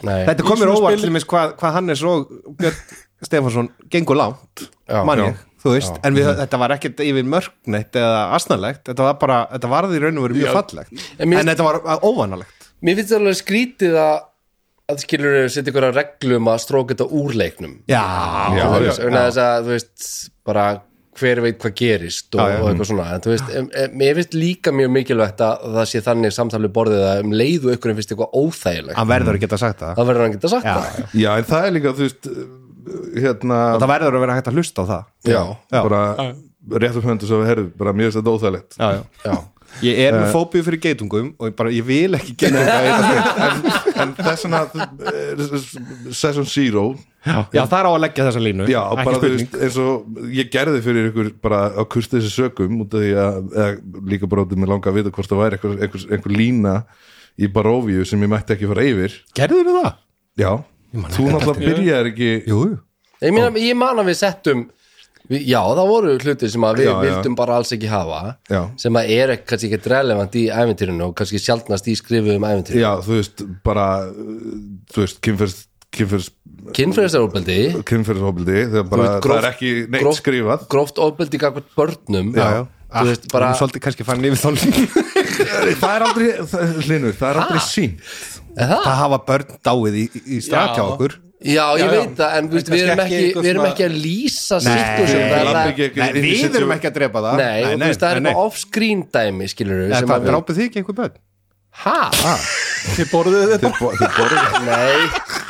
Speaker 1: Nei,
Speaker 2: þetta
Speaker 4: Í
Speaker 2: komur
Speaker 4: svona
Speaker 2: óvart
Speaker 4: spili-
Speaker 2: til mér hvað, hvað Hannes og Björn Stefánsson gengur langt
Speaker 1: Já,
Speaker 2: mann
Speaker 1: já.
Speaker 2: ég, þú veist, en við, þetta var ekkert yfir mörgneitt eða asnalegt þetta var bara, þetta varði í raun og verið mjög fallegt
Speaker 1: En
Speaker 2: en,
Speaker 1: mér-
Speaker 2: þetta var uh, óvanalegt
Speaker 1: mér finnst það alveg skrítið að að skilur þau setja ykkur að reglum að stróka þetta úr leiknum
Speaker 2: Já,
Speaker 1: já,
Speaker 3: já,
Speaker 1: þú veist, vegna þess að þú veist bara hver veit hvað gerist og,
Speaker 2: Já, já.
Speaker 1: og eitthvað svona en þú veist, em- em- mér finnst líka mjög mikilvægt að það sé þannig samtalið borðið að um leið og ykkur finnst eitthvað óþægilegt
Speaker 2: hann verður að geta sagt það
Speaker 1: það verður hann geta sagt
Speaker 2: Já,
Speaker 1: það
Speaker 3: já, en það er líka, þú veist hérna,
Speaker 2: og það verður að vera hægt að hlusta á það
Speaker 1: já,
Speaker 2: Já.
Speaker 3: bara rétt upp höndu svo við herðum, bara mér finnst þetta óþægilegt
Speaker 2: já, já.
Speaker 1: já,
Speaker 2: Ég er með fóbíu fyrir geitungum og ég, bara, ég vil ekki geitunga í þetta spil.
Speaker 3: en þess vegna eh, Session Zero
Speaker 2: Já, það er á að leggja þessa línu
Speaker 3: Já,
Speaker 2: ekki
Speaker 3: bara þú
Speaker 2: spurning.
Speaker 3: veist, eins og ég gerði fyrir ykkur bara á kurtið þessi sökum út af því að eða, líka bara út af mér langa að vita hvort það væri einhver, einhver, einhver lína í Baróvíu sem ég mætti ekki fara yfir
Speaker 2: Gerðirðu það?
Speaker 3: Já, þú náttúrulega byrjaðir ekki
Speaker 2: Jú,
Speaker 1: ég, meina, ég man að við settum við, já, það voru hlutir sem að við
Speaker 3: Já, já.
Speaker 1: vildum bara alls ekki hafa
Speaker 3: Já.
Speaker 1: sem að er ekki- kannski ekkert relevant í æventýrinu og kannski sjaldnast í skrifuðum æventýrinu
Speaker 3: Já, þú veist, bara uh, þú veist, kynferðs kynferðs,
Speaker 1: kynfræðistarúbeldi
Speaker 3: kynferðsofbeldi þegar bara,
Speaker 1: veist,
Speaker 3: það er ekki neitt skrifað
Speaker 1: gróft ofbeldi gagvart börnum
Speaker 2: já, já
Speaker 1: Þú
Speaker 2: Ah,
Speaker 1: veist, bara,
Speaker 2: Hún er svolítið kannski farin yfir þá línu
Speaker 3: Það er aldrei, það, Linur, það er aldrei sín
Speaker 1: Er það?
Speaker 2: Það hafa börn dáið í, í strakja
Speaker 4: Já.
Speaker 2: okkur
Speaker 1: Já, ég
Speaker 4: Já, já.
Speaker 1: veit það, en, en við,
Speaker 4: kannski
Speaker 1: erum
Speaker 4: ekki
Speaker 1: ekki,
Speaker 4: eitthvað
Speaker 1: við erum
Speaker 4: svona-
Speaker 1: ekki að lýsa
Speaker 2: Nei.
Speaker 1: sýttum
Speaker 2: Nei,
Speaker 1: það
Speaker 3: labba
Speaker 1: er
Speaker 3: ekki-
Speaker 2: Nei,
Speaker 3: inn í
Speaker 2: við
Speaker 3: situ-
Speaker 2: erum ekki að drepa það
Speaker 1: Nei, og þú veist, það er eitthvað off-screen dæmi, skilur við, sem
Speaker 2: Þetta
Speaker 1: að við...
Speaker 2: drápið þið ekki einhver börn
Speaker 1: Hæ?
Speaker 4: þið borðuðu þetta
Speaker 3: Þeir bo- þeir borða
Speaker 1: Nei.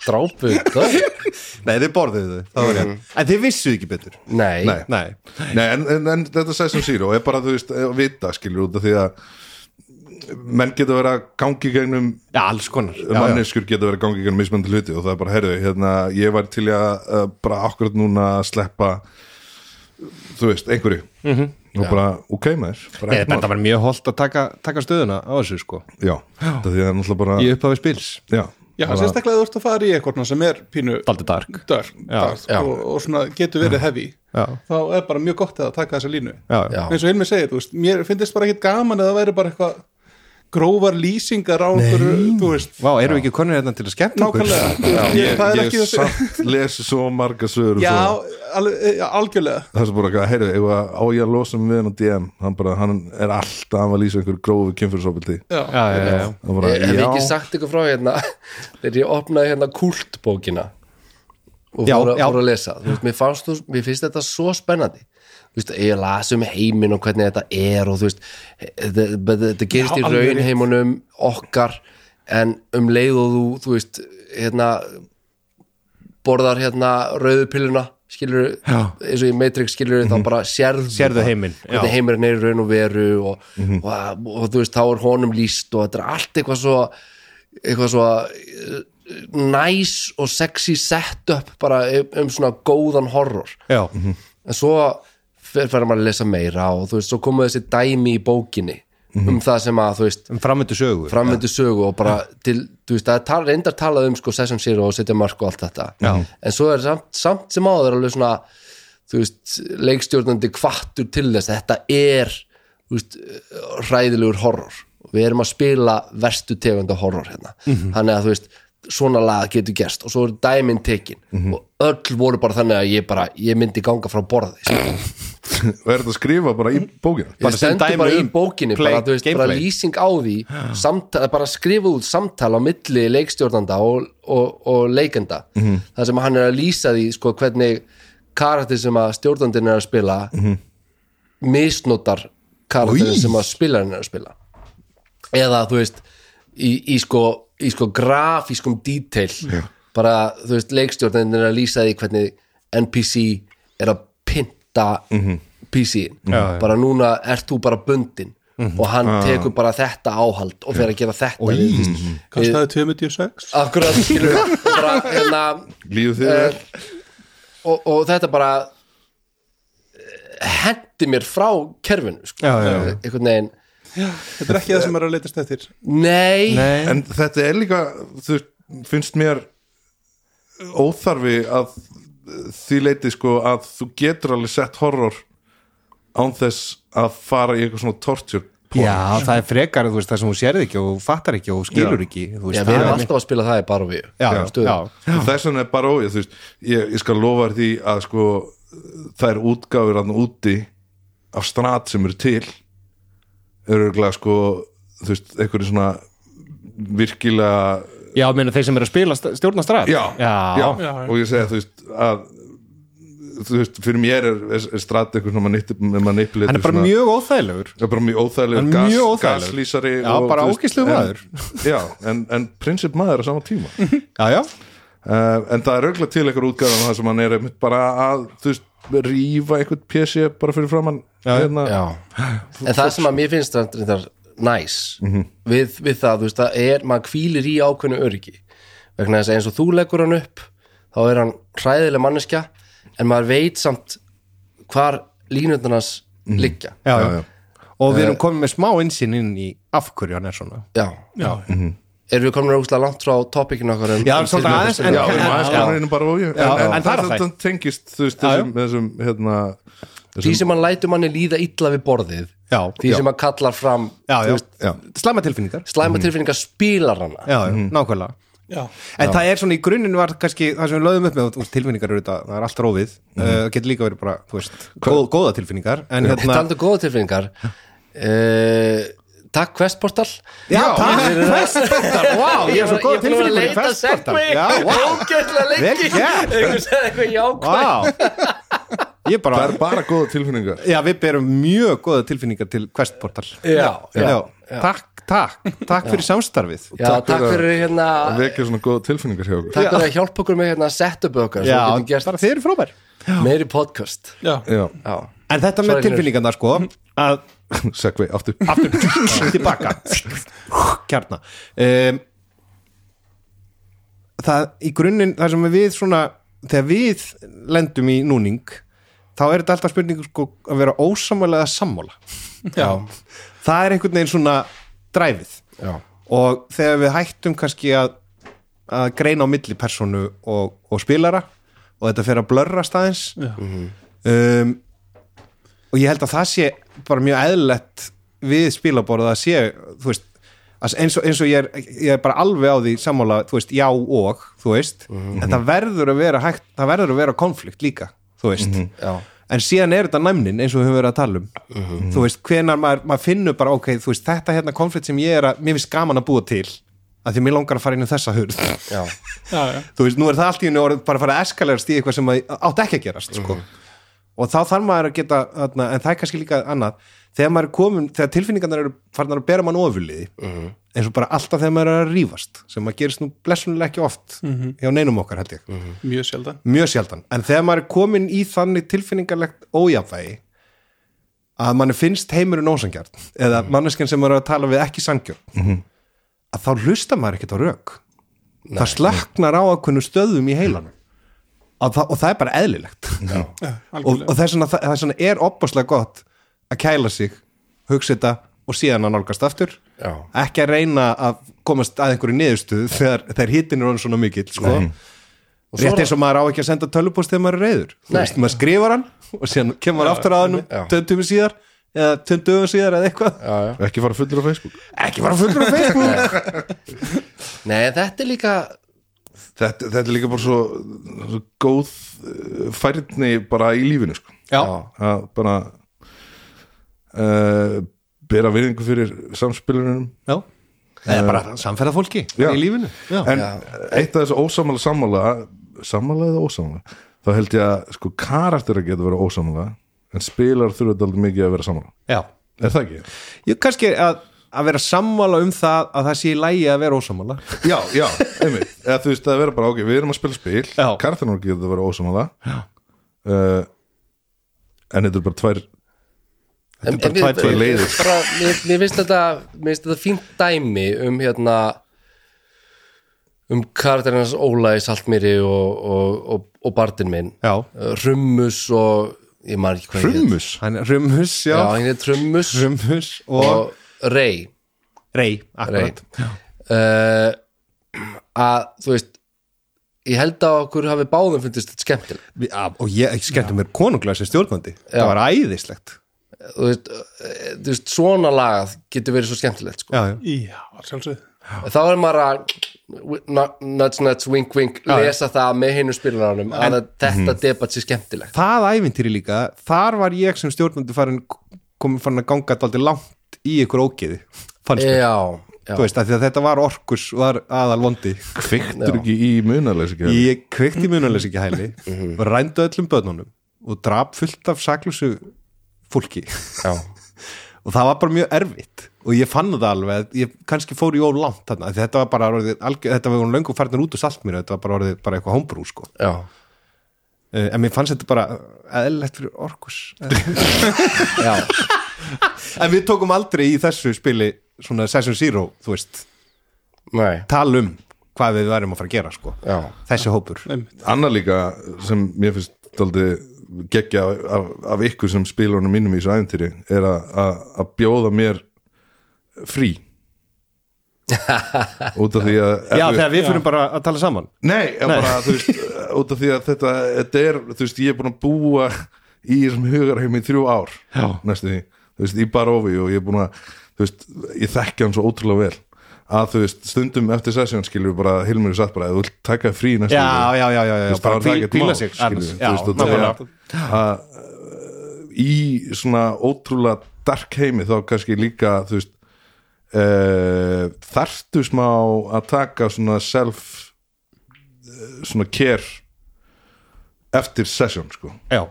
Speaker 1: Drápu, það?
Speaker 2: Nei, þið borðuðu þau, það var
Speaker 1: Mm.
Speaker 2: ég En þið vissuð ekki betur
Speaker 1: Nei.
Speaker 3: Nei.
Speaker 2: Nei,
Speaker 3: Nei, en, en, en þetta Session Zero er bara, þú veist, að vita, skilur út af því að menn geta verið að gangi gegnum
Speaker 2: já, alls konar já, já.
Speaker 3: manneskur geta verið að gangi gegnum mismöndi hluti og það er bara, herðu, hérna, ég var til í að uh, bara akkurat núna sleppa þú veist, einhverju -hmm. og bara, ok maður bara
Speaker 2: Nei,
Speaker 3: ekkert mál.
Speaker 2: Þetta var mjög holdt að taka, taka stöðuna á þessu sko
Speaker 3: Já, þetta því að það er náttúrulega bara
Speaker 2: Í upphafi spils
Speaker 3: Já,
Speaker 4: já,
Speaker 3: bara,
Speaker 4: sérstaklega þú ert að fara í eitthvað sem er pínu
Speaker 2: Daldi dark
Speaker 4: dörf
Speaker 1: já.
Speaker 4: sko, og, og svona getur verið heavy
Speaker 2: Já,
Speaker 4: þá er bara mjög gott að taka þessa línu
Speaker 2: já,
Speaker 1: Já.
Speaker 4: eins og Hilmi segir, þú veist, mér finnst bara ekkit gaman að það væri bara eitthvað grófar lýsingar á einhverju, þú veist
Speaker 2: Vá, erum við ekki konur hérna til að skemmta okkur?
Speaker 4: nákvæmlega, þú veist, ég,
Speaker 3: Ég,
Speaker 4: það er
Speaker 3: ég
Speaker 4: ekki þessi
Speaker 3: samt lesi svo marga sögur og
Speaker 4: já,
Speaker 3: svo,
Speaker 4: alveg, eh, já, algjörlega
Speaker 3: það er svo bara, heyrðu, eigum við að- á ég að losa mig við hann á DM hann bara, hann er alltaf að lýsa einhver grófi kynfyrirsopildi
Speaker 2: Já, já, já, já.
Speaker 3: Það bara,
Speaker 1: Ég Eh, hef ekki
Speaker 3: já.
Speaker 1: sagt ykkur frá hérna, þegar ég opnaði hérna kultbókina og
Speaker 2: Já,
Speaker 1: fór, að,
Speaker 2: já.
Speaker 1: fór að lesa, þú veist, mér, fannst, þú- mér finnst þetta svo spennandi. Þú veist, ég las um heiminn og hvernig þetta er og þú veist, þetta þetta gerist
Speaker 4: Já,
Speaker 1: í
Speaker 4: alveg rétt.
Speaker 1: raunheimunum okkar en um leið og þú, þú veist, hérna, borðar hérna rauðu pilluna, skilur,
Speaker 2: Já. Mhm.
Speaker 1: eins og í Matrix skilur, þá bara sérðu,
Speaker 2: Sérðu heiminn, já. Mhm.
Speaker 1: hvernig heimurinn er í raun og veru og, og, og, þú veist, þá er honum líst og þetta er allt eitthvað svo eitthvað svo eh, næs og sexy setup bara um, um svona góðan horror
Speaker 2: já.
Speaker 1: en svo fer, fer maður að lesa meira og þú veist, svo komu þessi dæmi í bókinni
Speaker 2: Mhm.
Speaker 1: um það sem að, þú veist,
Speaker 2: Um framöndu sögu
Speaker 1: framöndu sögu og bara til, þú veist, það er tal, reyndar talað um sko session zero og setja mörg og allt þetta
Speaker 2: Já.
Speaker 1: en svo er samt, samt sem áður alveg svona, þú veist, leikstjórnandi kvattur til þess, þetta er þú veist, hræðilegur horror og við erum að spila verstu tegunda horror hérna,
Speaker 2: Mhm.
Speaker 1: þannig að þú veist svona laga getur gerst og svo er dæminn tekin
Speaker 2: Mhm.
Speaker 1: og öll voru bara þannig að ég bara, ég myndi ganga frá borði sko.
Speaker 3: og er þetta að skrifa bara í bókina
Speaker 1: ég
Speaker 2: Bara sem
Speaker 1: stendur
Speaker 2: dæmi
Speaker 1: bara í
Speaker 2: um
Speaker 1: bókinni
Speaker 2: play-
Speaker 1: bara, þú veist, bara
Speaker 2: gameplay.
Speaker 1: lýsing á því samtala, bara skrifa út samtala á milli leikstjórnanda og, og, og leikenda
Speaker 2: Mhm.
Speaker 1: þar sem hann er að lýsa því sko, hvernig karakter sem að stjórnandinn er að spila
Speaker 2: Mhm.
Speaker 1: misnotar karakterin sem að spilarinn er að spila eða þú veist í, í, sko, í sko grafískum detail bara þú veist leikstjórnandinn er að lýsa því hvernig NPC er að pynta PC-in
Speaker 2: Mhm. Já, Mhm. Ah. já.
Speaker 1: bara núna ert þú bara bundin og hann tekur bara þetta áhald og fer að gera þetta við,
Speaker 4: kastaði 26
Speaker 1: akkurat skilur og bara, hérna,
Speaker 3: Líðu þið
Speaker 1: Eh,
Speaker 3: vel
Speaker 1: og, og þetta bara eh, hendi mér frá kerfinu sko.
Speaker 2: Já, já, já.
Speaker 1: einhvern veginn
Speaker 4: þetta er ekki það sem maður er að leitast eftir
Speaker 1: nei,
Speaker 2: Nei,
Speaker 3: En þetta er líka, þú veist, finnst mér óþarfi að því leiti sko að þú getur alveg sett horror án þess að fara í eitthvað svona torture porn.
Speaker 2: já, það er frekar þú veist, það sem þú sérð ekki og fattar ekki og skilur
Speaker 3: Já.
Speaker 2: ekki þú
Speaker 1: já,
Speaker 2: veist,
Speaker 1: við
Speaker 2: það
Speaker 1: erum
Speaker 2: er
Speaker 1: alltaf að spila það í bara við
Speaker 2: Já, já,
Speaker 3: Og Þess vegna er bara óið, þú veist, ég, ég skal lofa þér því að sko þær útgáfur aðna úti af strat sem eru til eru örgulega sko, þú veist, einhverju svona virkilega
Speaker 2: já, meina þeir sem eru að spila st- stjórna stræð
Speaker 3: já, já,
Speaker 2: já,
Speaker 4: Já, já.
Speaker 3: og ég segja þú veist að þú veist, fyrir mér er, er, er strat eitthvað svona manipulið
Speaker 2: hann er bara mjög óþægilegur
Speaker 3: Það er bara mjög óþægilegur,
Speaker 2: Hann er
Speaker 3: gas,
Speaker 2: mjög óþægilegur.
Speaker 3: gaslýsari
Speaker 2: Já,
Speaker 3: og,
Speaker 2: bara
Speaker 3: þú veist,
Speaker 2: ógeðslegur
Speaker 3: en-
Speaker 2: maður.
Speaker 3: Já, en, en prinsip maður á sama tíma uh,
Speaker 2: já, já,
Speaker 3: Eh, En það er auðvitað til einhver útgáðan það sem hann er einmitt bara að, þú veist, rífa einhvern PC bara fyrir framann hérna,
Speaker 1: já. en það sem að mér finnst reyndar næs við, við það, þú veist, það er maður hvílir í ákveðnu öryggi vegna þess að eins og þú leggur hann upp þá er hann hræðileg manneskja en maður veit samt hvar línundunars liggja
Speaker 2: já,
Speaker 3: Já, já.
Speaker 2: og við erum komin með smá einsinn inn í af hverju hann er svona
Speaker 1: já,
Speaker 4: já,
Speaker 1: erum við komin að úsla langt frá topikinu okkar um,
Speaker 2: Já,
Speaker 1: um
Speaker 2: svolítið aðeins,
Speaker 1: tilfinningar?
Speaker 2: en-
Speaker 3: Já, en maður
Speaker 2: já.
Speaker 3: skoðan einu bara og ég
Speaker 2: Já,
Speaker 3: En,
Speaker 2: en það er það.
Speaker 3: tengist, þú
Speaker 2: Já,
Speaker 3: veist,
Speaker 2: já.
Speaker 3: þessum, þessum hérna,
Speaker 1: því sem hann lætur manni líða illa við borðið
Speaker 2: Já,
Speaker 1: því sem hann kallar fram
Speaker 2: já,
Speaker 1: þú
Speaker 2: já.
Speaker 1: veist,
Speaker 3: já.
Speaker 2: slæma tilfinningar
Speaker 1: slæma tilfinningar spilar hana
Speaker 2: já, já, nákvæmlega
Speaker 4: já,
Speaker 2: En það er svona í grunninn var kannski það sem við lögðum upp með og tilfinningar eru þetta, það er allt rófið mm. uh, getur líka verið bara, þú veist, góð, góða tilfinningar en
Speaker 1: þetta
Speaker 2: hérna
Speaker 1: er aldrei góða tilfinningar uh, takk Questportal
Speaker 2: Já, það er festbættar, wow, ég er svo góða tilfinningar í
Speaker 1: ég er búin að leita
Speaker 2: festbættar
Speaker 1: segmi
Speaker 2: Já, wow,
Speaker 1: ógætla
Speaker 2: Vel
Speaker 1: lengi
Speaker 2: gert.
Speaker 1: einhvers að eitthvað jákvæð
Speaker 2: wow Ég bara,
Speaker 3: Það er bara góða tilfinningar
Speaker 2: já, við berum mjög góða tilfinningar til questportal já,
Speaker 1: já, já, já.
Speaker 2: Takk, takk, takk fyrir samstarfið
Speaker 1: takk,
Speaker 3: fyrir
Speaker 1: fyrir hérna
Speaker 3: að vekja svona góða tilfinningar hjá okkur
Speaker 1: takk fyrir að hjálpa okkur með hérna setupið okkar
Speaker 2: Já,
Speaker 1: svo við getum
Speaker 2: bara þeir eru frábær
Speaker 1: gert meiri podcast
Speaker 4: já,
Speaker 3: Já,
Speaker 1: já,
Speaker 2: En þetta
Speaker 1: Sorry,
Speaker 2: með tilfinningarna, sko að
Speaker 3: segvei, aftur
Speaker 2: aftur tilbaka kjarna um, það í grunninn það sem við svona þegar við lendum í núning þá er þetta alltaf spurningu sko að vera ósamála eða sammála
Speaker 4: já.
Speaker 2: það er einhvern veginn svona dræfið
Speaker 1: já,
Speaker 2: og þegar við hættum kannski að, að greina á milli personu og, og spilara og þetta fer að blörra staðins um, og ég held að það sé bara mjög eðlilegt við spilaborð að sé þú veist, að eins og, eins og ég, er, ég er bara alveg á því sammála, þú veist, já og þú veist, en það verður að vera hægt, það verður að vera konflikt líka þú veist,
Speaker 1: já,
Speaker 2: en síðan er þetta næmnin eins og við höfum verið að tala um þú veist, hvenar maður, maður finnur bara ok, þú veist, þetta hérna konflikt sem ég er að mér finnst gaman að búa til, að því mér langar að fara inn í þessa hurð,
Speaker 1: já,
Speaker 4: já, já.
Speaker 2: þú veist, nú er það allt í henni orðið bara að fara að eskalerast í eitthvað sem að- átt ekki að gerast, sko og þá þarf maður að geta, þarna, en það er kannski líka annað, þegar maður er komin þegar tilfinningarnar eru farnar að bera mann ofurliði eins og bara alltaf þegar maður er að rífast sem maður gerist nú blessunulega ekki oft hjá neinum okkar, held ég
Speaker 4: mjög sjaldan
Speaker 2: mjög sjaldan, en þegar maður er komin í þannig tilfinningarlegt ójafvægi að mann finnst heimurinn ósangjarn eða manneskinn sem maður er að tala við ekki sangjarn að þá hlusta maður ekkert á rauk það slöknar á ákveðnu stöðum í heilanum og það, og það er bara eðlilegt og, og
Speaker 4: algjörlega,
Speaker 2: þess vegna, þess vegna er opaslega gott að kæla sig hugsa þetta og síðan að nálgast aftur
Speaker 1: Já.
Speaker 2: ekki að reyna að komast að einhverju niðurstöðu þegar, þegar hittin er orðin svona mikill sko.
Speaker 1: svo er
Speaker 2: rétt eins og maður á ekki að senda tölvupóst þegar maður er reyður Þú
Speaker 1: Nei.
Speaker 2: veist, maður skrifar hann og síðan kemur maður aftur að hann
Speaker 1: Já.
Speaker 2: töndum síðar eða töndum síðar eða eitthvað
Speaker 1: já, já.
Speaker 3: Ekki fara fullur á Facebook
Speaker 2: ekki bara fullur á Facebook
Speaker 1: nei, en þetta er líka
Speaker 3: Þetta, þetta er líka bara svo, svo góð eh, færni bara í lífinu sko.
Speaker 2: já,
Speaker 3: að bara uh, bera virðingu fyrir samspilunum
Speaker 2: já eða bara samferða fólki
Speaker 3: Já.
Speaker 2: í lífinu já,
Speaker 3: en eitt af þessu ósamála sammála sammála eða ósamála þá held ég að sko karakter að geta verið ósamála en spilar þurfa þetta aldrei mikið að vera sammála
Speaker 2: já.
Speaker 3: er það ekki?
Speaker 2: Ég, kannski að, að vera sammála um það að það sé í lægi að vera ósammála
Speaker 3: Já, já, einmitt eða þú veist að vera bara ok, við erum að spila spil
Speaker 2: Já.
Speaker 3: karakterinn geta að vera ósamála uh, en þetta er bara tvær
Speaker 1: En, en
Speaker 2: bara
Speaker 1: við-
Speaker 2: tvær- tvær
Speaker 3: leiðir.
Speaker 1: bara, mér, mér finnst þetta mér finnst þetta fínt dæmi um hérna um karakterinans Óla í Saltmýri og, og, og, og Bardin minn
Speaker 2: Já.
Speaker 1: Rummus og ég maður ekki hvað hann hét.
Speaker 3: Hrummus
Speaker 2: hann er Rummus, já,
Speaker 1: Já, hann er Trummus
Speaker 2: Rummus og,
Speaker 1: og Rey
Speaker 2: Rey, akkurat
Speaker 1: uh, að þú veist ég held að okkur hafi báðum fundist þetta skemmtileg
Speaker 2: Við- að- og ég skemmti mér konunglega sem stjórnvandi það var æðislegt
Speaker 1: þú veist, eh, þú veist, svona lagað getur verið svo skemmtilegt sko.
Speaker 2: já, já.
Speaker 4: Já, sjálfsög
Speaker 1: þá er maður að nuts nuts wink wink lesa það með hinu spilaranum að þetta
Speaker 2: Mhm.
Speaker 1: debat sé skemmtilegt
Speaker 2: það ævintýri líka, þar var ég sem stjórnvandi farin, komin farin að ganga daldið langt í ykkur ógeði fannst mér,
Speaker 1: já, já.
Speaker 2: þú veist, af því að þetta var orkus var aðal vondi
Speaker 3: Kviktur ekki í munarleysi
Speaker 2: ég kveikti munalins ekki hæli og rændu öllum börnunum og drap fullt af saklusu fólki
Speaker 1: Já.
Speaker 2: og það var bara mjög erfitt og ég fann það alveg að ég kannski fór í ólangt þarna, af því þetta var bara orðið, algjör, þetta var löngu farnir út úr salt mér þetta var bara orðið bara eitthvað hombrú sko
Speaker 1: Já.
Speaker 2: Eh, en mér fannst þetta bara eðlilegt fyrir orkus
Speaker 1: Já.
Speaker 2: en við tókum aldrei í þessu spili svona Session Zero, þú veist
Speaker 1: Nei.
Speaker 2: tala um hvað við værum að fara að gera sko.
Speaker 1: Já.
Speaker 2: þessi hópur
Speaker 3: Anna líka sem mér finnst daldi geggja af, af, af ykkur sem spilunum mínum í þessu æventýri er að- að að bjóða mér frí út af því að
Speaker 2: já, þegar Eh, við fyrir bara að tala saman
Speaker 3: Nei, Nei. Bara, þú veist, út af því að þetta, þetta er, þú veist, ég er búin að búa í þessum hugarheim í þrjú ár
Speaker 2: Já.
Speaker 3: næstu því, þú veist, í barofi og ég er búin að, þú veist, ég þekki hann svo ótrúlega vel að þú veist, stundum eftir sessjón skilur við bara, Hilmur er satt bara, ef þú vilt taka þér frí næstu
Speaker 2: já,
Speaker 3: viku,
Speaker 2: já, já, já, já,
Speaker 3: þú veist,
Speaker 2: bara
Speaker 3: þá er það
Speaker 2: hví-
Speaker 3: ekkert
Speaker 2: hvíla
Speaker 3: mál,
Speaker 2: sig
Speaker 3: skilur
Speaker 2: aðeins.
Speaker 3: við,
Speaker 2: já,
Speaker 3: þú veist, og það er-
Speaker 2: nákvæmlega.
Speaker 3: í svona ótrúlega dark heimi þá kannski líka, þú veist, uh, þarftu smá að taka svona self eh, svona care eftir session sko
Speaker 2: já,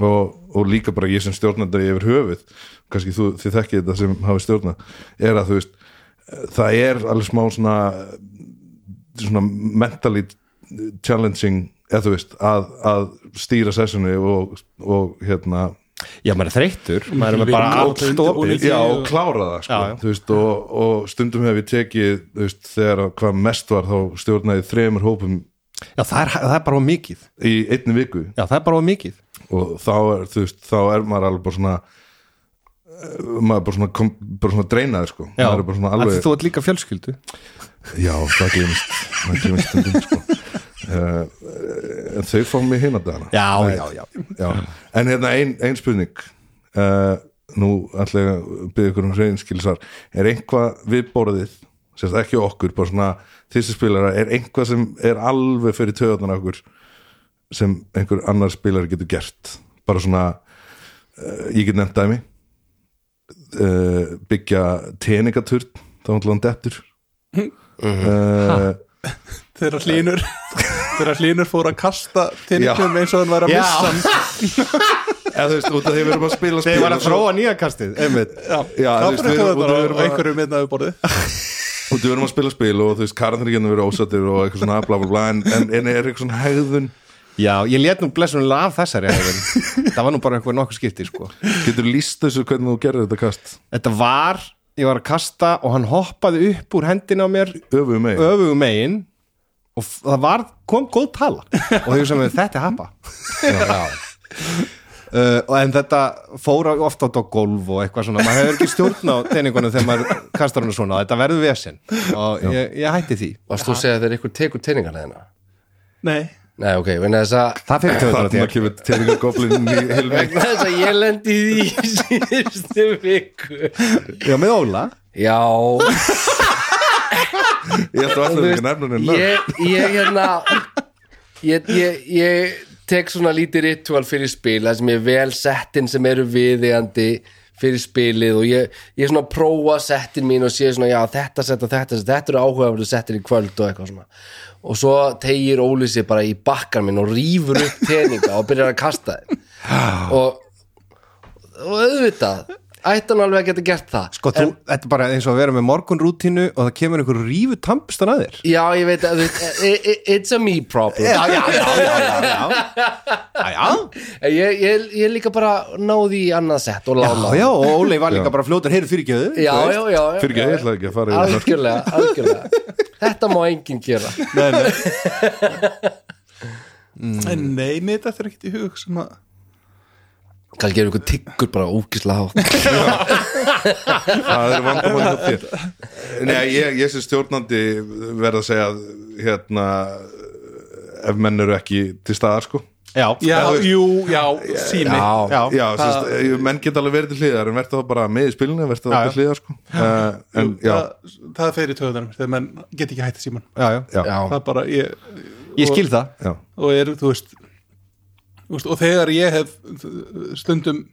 Speaker 3: og, og líka bara ég sem stjórnandari yfir höfuð kannski þú, þið þekkið þetta sem hafi stjórna er að þú veist eh, það er alveg smá svona eh, svona mentally challenging eða þú veist að, að stýra sessioni og, og hérna
Speaker 2: já, maður er þreyttur maður er með bara
Speaker 4: Líka
Speaker 2: allt
Speaker 4: ótrúlega
Speaker 2: opið
Speaker 4: undir-
Speaker 3: Já,
Speaker 4: Ég-
Speaker 3: og klára það sko.
Speaker 2: Já, já.
Speaker 3: Þú Veist, og, og stundum hef ég tekið þú veist, þegar að hvað mest var þá stjórnaði þremur hópum
Speaker 2: já, það er, það er bara of mikið
Speaker 3: í einni viku
Speaker 2: já, það er bara of mikið
Speaker 3: og þá er, þú veist, þá er maður alveg bara svona eh, maður bara svona, kom, bara svona dreinaði sko.
Speaker 2: já,
Speaker 3: maður er bara svona
Speaker 2: af því
Speaker 3: alveg
Speaker 2: þú ert líka fjölskyldu
Speaker 3: já, það glemist, það glemist stundum sko. uh, en þau fá mig hinn að dana
Speaker 2: já, já, já,
Speaker 3: Já. En hérna ein, ein spurning uh, Nú ætla ég að byggja ykkur um reynskilsar Er einhvað viðborðið Sérst ekki okkur, bara svona Þið sem spilara, er einhvað sem er alveg fyrir töðunar okkur sem einhver annar spilari getur gert bara svona uh, ég get nefnt dæmi uh, byggja teningaturn þá hann hann dettur uh,
Speaker 4: Þeirra hlínur Þeirra hlínur fór að kasta tinningum eins og hann var að
Speaker 2: Já.
Speaker 4: missa hann.
Speaker 3: eða þú veist, út af því við erum að spila
Speaker 2: þegar
Speaker 3: spil
Speaker 2: var
Speaker 3: og
Speaker 2: að
Speaker 3: svo-
Speaker 2: þróa nýja kastið einmitt.
Speaker 3: Já,
Speaker 4: Það
Speaker 3: þú veist,
Speaker 4: fyrir
Speaker 3: við-
Speaker 4: þetta
Speaker 3: og þú
Speaker 4: bara
Speaker 3: erum
Speaker 4: hérna á
Speaker 3: að-
Speaker 4: einhverju miðnaðu borðið
Speaker 3: og við erum að spila spil og þú veist karðanir getur verið ósattir og eitthvað svona bla bla bla en, en, en er eitthvað svona hegðun
Speaker 2: já, ég let nú blessunlega af þessari hefðin. það var nú bara einhver nokkuð skipti sko.
Speaker 3: getur líst þessu hvernig þú gerir þetta kast
Speaker 2: þetta var, ég var að kasta og hann hoppaði upp úr hendina á mér
Speaker 3: öfuðu mig
Speaker 2: öfugu megin og f- það var, kom góð tala og þau sem þetta er hapa Uh, og en þetta fóra ofta á golf og eitthvað svona, maður hefur ekki stjórn á teiningunum þegar maður kastar hann svona þetta verður vesen og ég, ég hætti því
Speaker 1: varst þú að segja þegar ykkur tekur teiningarna þeirna
Speaker 4: Nei,
Speaker 1: nei ok, vegna þess að
Speaker 2: það fyrir töður á
Speaker 3: þannig að
Speaker 2: þér
Speaker 3: kemur teiningagoblin í heilveik
Speaker 1: vegna þess að ég lendi í því í síðustu viku
Speaker 2: já með Óla,
Speaker 1: já,
Speaker 3: ég ætla alltaf ekki nefnunum yeah.
Speaker 1: ég, ég hérna ég, ég, ég tek svona lítið ritual fyrir spil það sem er vel settin sem eru viðeigandi fyrir spilið og ég, ég svona prófa settin mín og sé svona já þetta sett og þetta sett, þetta eru áhugaverðu settin í kvöld og eitthvað svona og svo tegir Óli sér bara í bakkar minn og rýfur upp teninga og byrjar að kasta þeim og, og auðvitað ætti hann alveg að geta gert það
Speaker 2: Sko, þú, þetta er bara eins og að vera með morgunrútínu og það kemur einhver rífu tampstan að þér
Speaker 1: Já, ég veit að þú veist, i- i- it's a me problem
Speaker 5: Já, já, já, já, já, já.
Speaker 2: Æja,
Speaker 1: En ég, ég, ég líka bara náði í annað sett og
Speaker 2: já,
Speaker 1: lána
Speaker 2: já, og Óli var líka bara fljótur heyrðu fyrirgjöðu
Speaker 1: já, já, já, já.
Speaker 3: Fyrir ég ætla ekki að fara yfir mörk.
Speaker 1: Algjörlega, algjörlega Þetta má enginn gera
Speaker 4: en nei, mér þetta er ekkert í hug sem að
Speaker 1: Kannski er ykkur tyggur bara ógislega hátt
Speaker 3: Það er vandamál hjá þér Nei, ég, ég sem stjórnandi verð að segja að, hérna ef menn eru ekki til staðar sko
Speaker 4: já,
Speaker 3: Já, þú-
Speaker 4: jú, já, sími
Speaker 1: Já,
Speaker 2: já.
Speaker 3: Já, sérst, menn geta alveg verið til hliðar en verður það bara með í spilinu, verður það
Speaker 2: Já,
Speaker 3: til hliðar sko uh, en já,
Speaker 4: það, það fer í töðunum þegar menn get ekki hætti síman
Speaker 2: já, já.
Speaker 3: já,
Speaker 1: já,
Speaker 4: það er bara, ég,
Speaker 2: Ég skil það
Speaker 3: já.
Speaker 4: og er, þú veist, þú veist og þegar ég hef stundum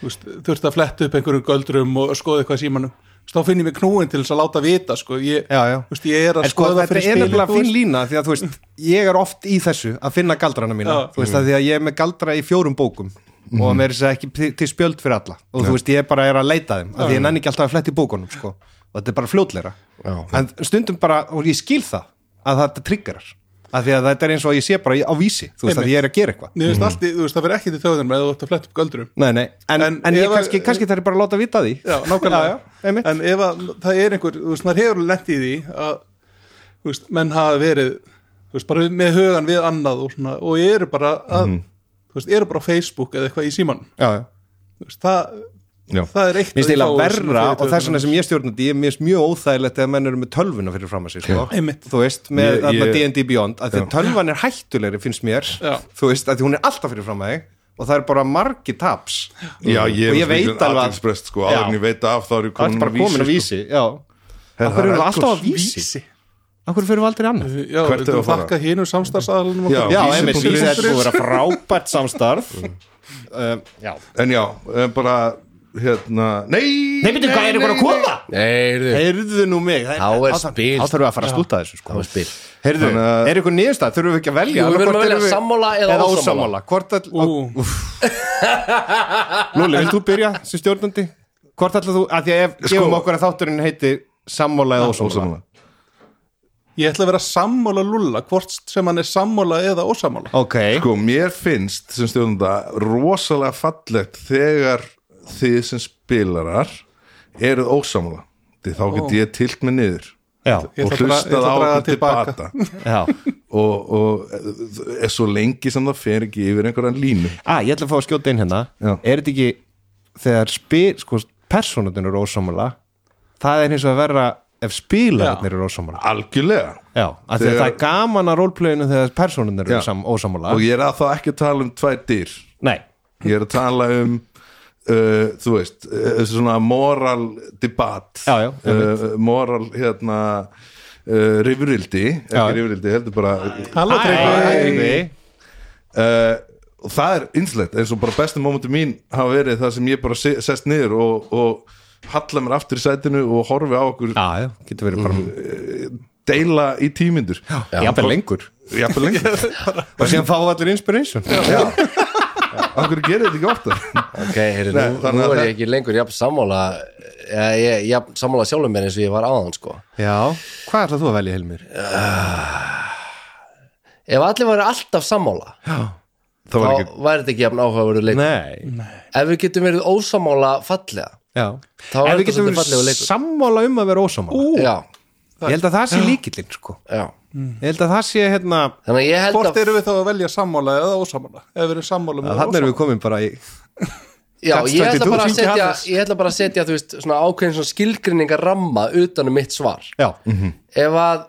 Speaker 4: þú veist, þurft að fletta upp einhverjum göldrum og skoða eitthvað í símanum þú veist, þá finn ég mig knúin til þess að láta vita sko. ég,
Speaker 2: Já, já.
Speaker 4: Þú veist, ég er að
Speaker 2: En sko,
Speaker 4: skoða
Speaker 2: þetta
Speaker 4: fyrir
Speaker 2: er
Speaker 4: spil
Speaker 2: nefnilega fín lína því að þú veist, ég er oft í þessu að finna galdrana mína,
Speaker 4: Já.
Speaker 2: þú veist, að því að ég er með galdra í fjórum bókum og mér er þess að ekki til- til spjöld fyrir alla og þú veist, ég bara er að leita þeim, að því ég nenni ekki alltaf að fletti bókunum, sko, og þetta er bara fljótleira
Speaker 1: Já.
Speaker 2: en stundum bara, og ég skil það að þetta triggerar, að því að þetta er eins og ég sé bara í- á vísi, þú veist, að ég er að gera eitthvað
Speaker 4: Mér finnst allt í- þú veist, það fer ekki til þjóðunum eða þú ert að fletta upp göldrum
Speaker 2: Nei, nei, en, en,
Speaker 4: En
Speaker 2: ég
Speaker 4: ef að-
Speaker 2: kannski, kannski þarf ég bara að láta vita af því
Speaker 4: já, nákvæmlega
Speaker 2: já, já, einmitt.
Speaker 4: en ef að, það er einhver, þú veist, maður hefur lent í því að, þú veist, menn hafa verið þú veist, bara með hugan við annað og svona, og eru bara að
Speaker 2: Mhm.
Speaker 4: þú veist, eru bara á Facebook eða eitthvað í síman
Speaker 2: já, já.
Speaker 4: þú veist, það,
Speaker 3: Já.
Speaker 4: það er
Speaker 2: Mér
Speaker 4: eitt af því
Speaker 2: stila
Speaker 4: fáu sem
Speaker 2: verra
Speaker 4: fer í
Speaker 2: og þess vegna
Speaker 4: taugarnar.
Speaker 2: sem ég stjórnandi ég mér finnst mjög óþægilegt ef menn eru með tölvuna fyrir fram að sig sko.
Speaker 4: Einmitt.
Speaker 2: þú veist, með
Speaker 3: Ég-
Speaker 2: þarna
Speaker 3: ég-
Speaker 2: D&D Beyond að því að tölvan er hættulegri finnst mér
Speaker 4: Já.
Speaker 2: þú veist, að því hún er alltaf fyrir fram að þig og það er bara margi taps
Speaker 3: já ég
Speaker 2: og
Speaker 3: er
Speaker 2: ég veit alveg að
Speaker 3: aðeinsprest sko, áður en
Speaker 2: Já.
Speaker 3: ég veit af þá er ég
Speaker 2: það er bara komin
Speaker 3: komin sko.
Speaker 2: á vísi Mm, já, af
Speaker 3: það er
Speaker 2: hverju erum við alltaf á
Speaker 3: eldgos.
Speaker 2: vísi af hverju fyrir við aldrei annað
Speaker 4: já,
Speaker 3: Hvert er að
Speaker 4: við þurfum að
Speaker 3: fara?
Speaker 4: þakka hínum samstarfsaðalunum
Speaker 3: Já.
Speaker 2: já,
Speaker 3: Vísir
Speaker 2: emi,
Speaker 3: punktur
Speaker 2: vísi
Speaker 3: is.
Speaker 2: þetta er búið að vera frábært samstarf um, já
Speaker 3: En já, eh, bara hérna, nei
Speaker 5: Nei, betur, hvað er það að koma?
Speaker 1: Nei, heyrðu,
Speaker 2: heyrðu nú mig, það
Speaker 1: Þá er
Speaker 2: þá þarf-
Speaker 1: spil.
Speaker 2: þá þurfum við að fara að slúta þessu sko.
Speaker 1: það var spil
Speaker 2: Heyrðu,
Speaker 3: Þannig að-
Speaker 2: er ykkur nýðustæð? Þurfum við ekki að velja?
Speaker 1: Jú, við
Speaker 2: Annað
Speaker 1: verðum að
Speaker 2: hvort
Speaker 1: velja
Speaker 2: erum við-
Speaker 1: sammála eða ósammála.
Speaker 2: Hvort all... Lúli, vilt þú byrja sem stjórnandi? Hvort ætlaðu þú, að því að ef gefum okkur að þátturinn heiti sammála eða Sko- ósammála,
Speaker 3: Ósamlega
Speaker 4: ég ætla að vera sammála lulla hvort sem hann er sammála eða ósammála
Speaker 2: Ok,
Speaker 3: Sko, mér finnst sem stjórnanda rosalega fallegt þegar þið sem spilarar eruð ósamlega því þá get ég tilt mig niður
Speaker 2: já,
Speaker 4: Ég
Speaker 3: og
Speaker 4: ætla að draga- ég
Speaker 3: hlustað
Speaker 4: ætla
Speaker 3: á
Speaker 4: að draga
Speaker 3: þetta
Speaker 4: tilbaka.
Speaker 3: tilbaka
Speaker 2: já
Speaker 3: og, og er svo lengi sem það fer ekki yfir einhverjan línu
Speaker 2: Æ, ég ætla að fá að skjóta inn hérna
Speaker 3: Já.
Speaker 2: Er þetta ekki þegar spil, sko, personatinn eru ósammála það er eins og að vera ef spilarnir eru ósammála
Speaker 3: algjörlega
Speaker 2: Já, af því að
Speaker 3: Þegar-
Speaker 2: það er gaman að rólpleginu þegar personatinn eru
Speaker 3: Já.
Speaker 2: sam- ósammála
Speaker 3: og ég er að þá ekki að tala um tvær dýr
Speaker 2: Nei,
Speaker 3: ég er að tala um uh, þú veist, uh, þessi svona moral debat
Speaker 2: Já, já,
Speaker 3: uh, moral hérna uh, rifrildi,
Speaker 2: Já.
Speaker 3: ekki rifrildi heldur bara
Speaker 4: Halló,
Speaker 2: Æ,
Speaker 3: uh, og það er innslegt eins og bara bestu mómentu mín hafa verið það sem ég bara se- sest niður og, og halla mér aftur í sætinu og horfi á okkur
Speaker 2: Já, já, getur verið bara
Speaker 3: deila í tímyndur
Speaker 2: jafnvel lengur
Speaker 3: jafnvel lengur
Speaker 2: og síðan fá allir inspiration já,
Speaker 3: okkur gerir þetta ekki ofta
Speaker 1: Ok, heyrðu,
Speaker 3: Nei,
Speaker 1: nú,
Speaker 3: þannig
Speaker 1: nú
Speaker 3: að
Speaker 1: er
Speaker 3: það-
Speaker 1: ég ekki lengur jafn sammála ja, ég, jafn sammála sjálfum mér eins og ég var áðan sko.
Speaker 2: hvað ætlað þú að velja Helmir?
Speaker 1: Ef allir væri alltaf sammála
Speaker 3: það
Speaker 1: þá
Speaker 3: var
Speaker 1: væri
Speaker 3: ekki
Speaker 1: þetta ekki jafn áhugaverðu leikur
Speaker 2: nei,
Speaker 1: Ef við getum verið ósammála fallega
Speaker 2: já
Speaker 1: Þá er
Speaker 2: en við
Speaker 1: þetta
Speaker 2: getum
Speaker 1: svolítið fallegur
Speaker 2: verið
Speaker 1: leikur.
Speaker 2: sammála um að vera ósammála
Speaker 1: Já,
Speaker 2: ég held að það sé líkillinn sko
Speaker 1: já
Speaker 2: ég held að það sé hérna
Speaker 1: Þannig að ég held
Speaker 4: hvort
Speaker 1: að
Speaker 4: erum við þá að velja sammála eða ósammála ef við erum sammála með
Speaker 2: þannig erum við komin bara í
Speaker 1: Já,
Speaker 2: Kannski
Speaker 1: ég ætla
Speaker 2: þú
Speaker 1: bara að
Speaker 2: hringi
Speaker 1: setja
Speaker 2: Hannes.
Speaker 1: Ég ætla bara að setja, þú veist, svona ákveðin svona skilgrinningar ramma utan um mitt svar
Speaker 2: já,
Speaker 1: Ef að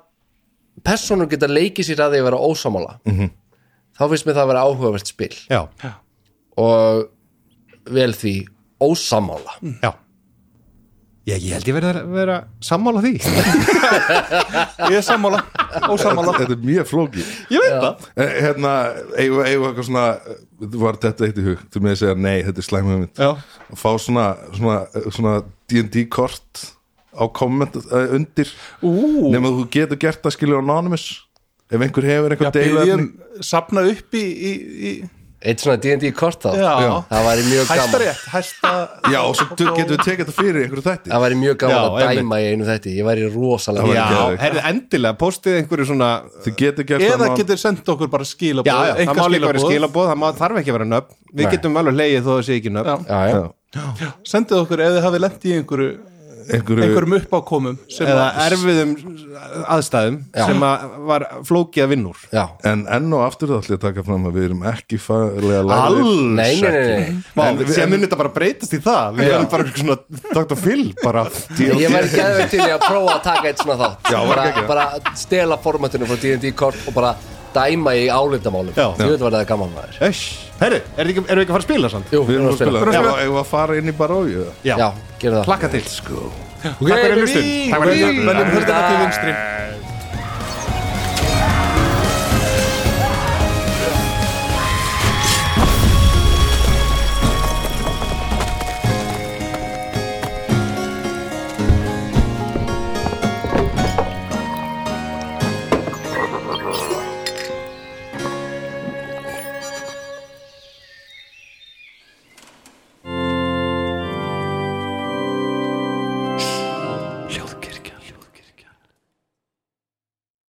Speaker 1: personur geta leikið sér að því að vera ósammála þá finnst mér það að vera áhugavert spil
Speaker 2: já,
Speaker 1: og vel því ósammála
Speaker 2: já ég, ég held ég verið að vera sammála því ég
Speaker 4: ég er sammála, ósammála
Speaker 3: þetta er mjög flókið
Speaker 2: veit það
Speaker 3: Eh, hérna, eigum við eigum við eitthvað svona eh, var þetta eitt í hug, þú með að segja nei þetta er slæmum mynd
Speaker 2: já,
Speaker 3: að fá svona, svona, eh, svona D&D kort á komment uh, undir
Speaker 4: Ú.
Speaker 3: nema þú getur gert það skilur anonymous ef einhver hefur
Speaker 4: já,
Speaker 3: einhver
Speaker 4: byrjum
Speaker 3: deilefni
Speaker 4: safna upp í, í, í
Speaker 1: Eitt svona D&D kort þá
Speaker 4: Já.
Speaker 1: Það væri mjög
Speaker 4: Hæsta
Speaker 1: gaman
Speaker 4: rétt, hæsta
Speaker 3: Já, og svo du- getum við tekið þetta fyrir í einhverju þætti
Speaker 1: Það væri mjög gaman
Speaker 2: Já,
Speaker 1: að dæma í einu þetta Ég væri rosalega
Speaker 3: Já.
Speaker 1: gaman.
Speaker 2: Já, herðu endilega, postið einhverju svona
Speaker 3: Þið getur gert
Speaker 4: Eða
Speaker 3: þennan-
Speaker 4: getur sendt okkur bara skilaboð
Speaker 2: Já, já, það má líka verið skilaboð, það má, þarf ekki að vera nöfn Við
Speaker 1: Nei.
Speaker 2: getum alveg leið þó það sé ekki nöfn
Speaker 1: Já, já.
Speaker 4: Sendið okkur ef þið hafið lent í einhverju
Speaker 3: einhverju,
Speaker 4: einhverjum uppákomum sem
Speaker 2: Eða
Speaker 4: að-
Speaker 2: erfiðum aðstæðum
Speaker 1: Já.
Speaker 2: sem að var flókið að vinnur
Speaker 1: Já.
Speaker 3: En enn og aftur þá ætlum ég að taka fram að við erum ekki faglega lagðir.
Speaker 2: Alls
Speaker 1: Nei, nei, nei, nei.
Speaker 2: Vá, Sér mun þetta bara breytast í það Við erum bara svona Dr. Phil bara
Speaker 1: Ég væri geðvegt til í að prófa að taka eitt svona þátt
Speaker 3: Já, var
Speaker 1: bara,
Speaker 3: geggjað.
Speaker 1: bara stela formatinu frá D&D kort og bara dæma í álitamálum
Speaker 2: Já.
Speaker 1: Ég veit var það gaman maður
Speaker 2: Herru, erum við ekki að fara að spila samt?
Speaker 1: Jú,
Speaker 3: Við erum að spila
Speaker 2: Já.
Speaker 3: Ef að- ef að fara inn í baróju
Speaker 1: Já, gera það
Speaker 2: Plakka til
Speaker 3: Sko
Speaker 2: Takk fyrir að hlusta Takk fyrir að hlusta
Speaker 4: Veljum hörðina til vinstri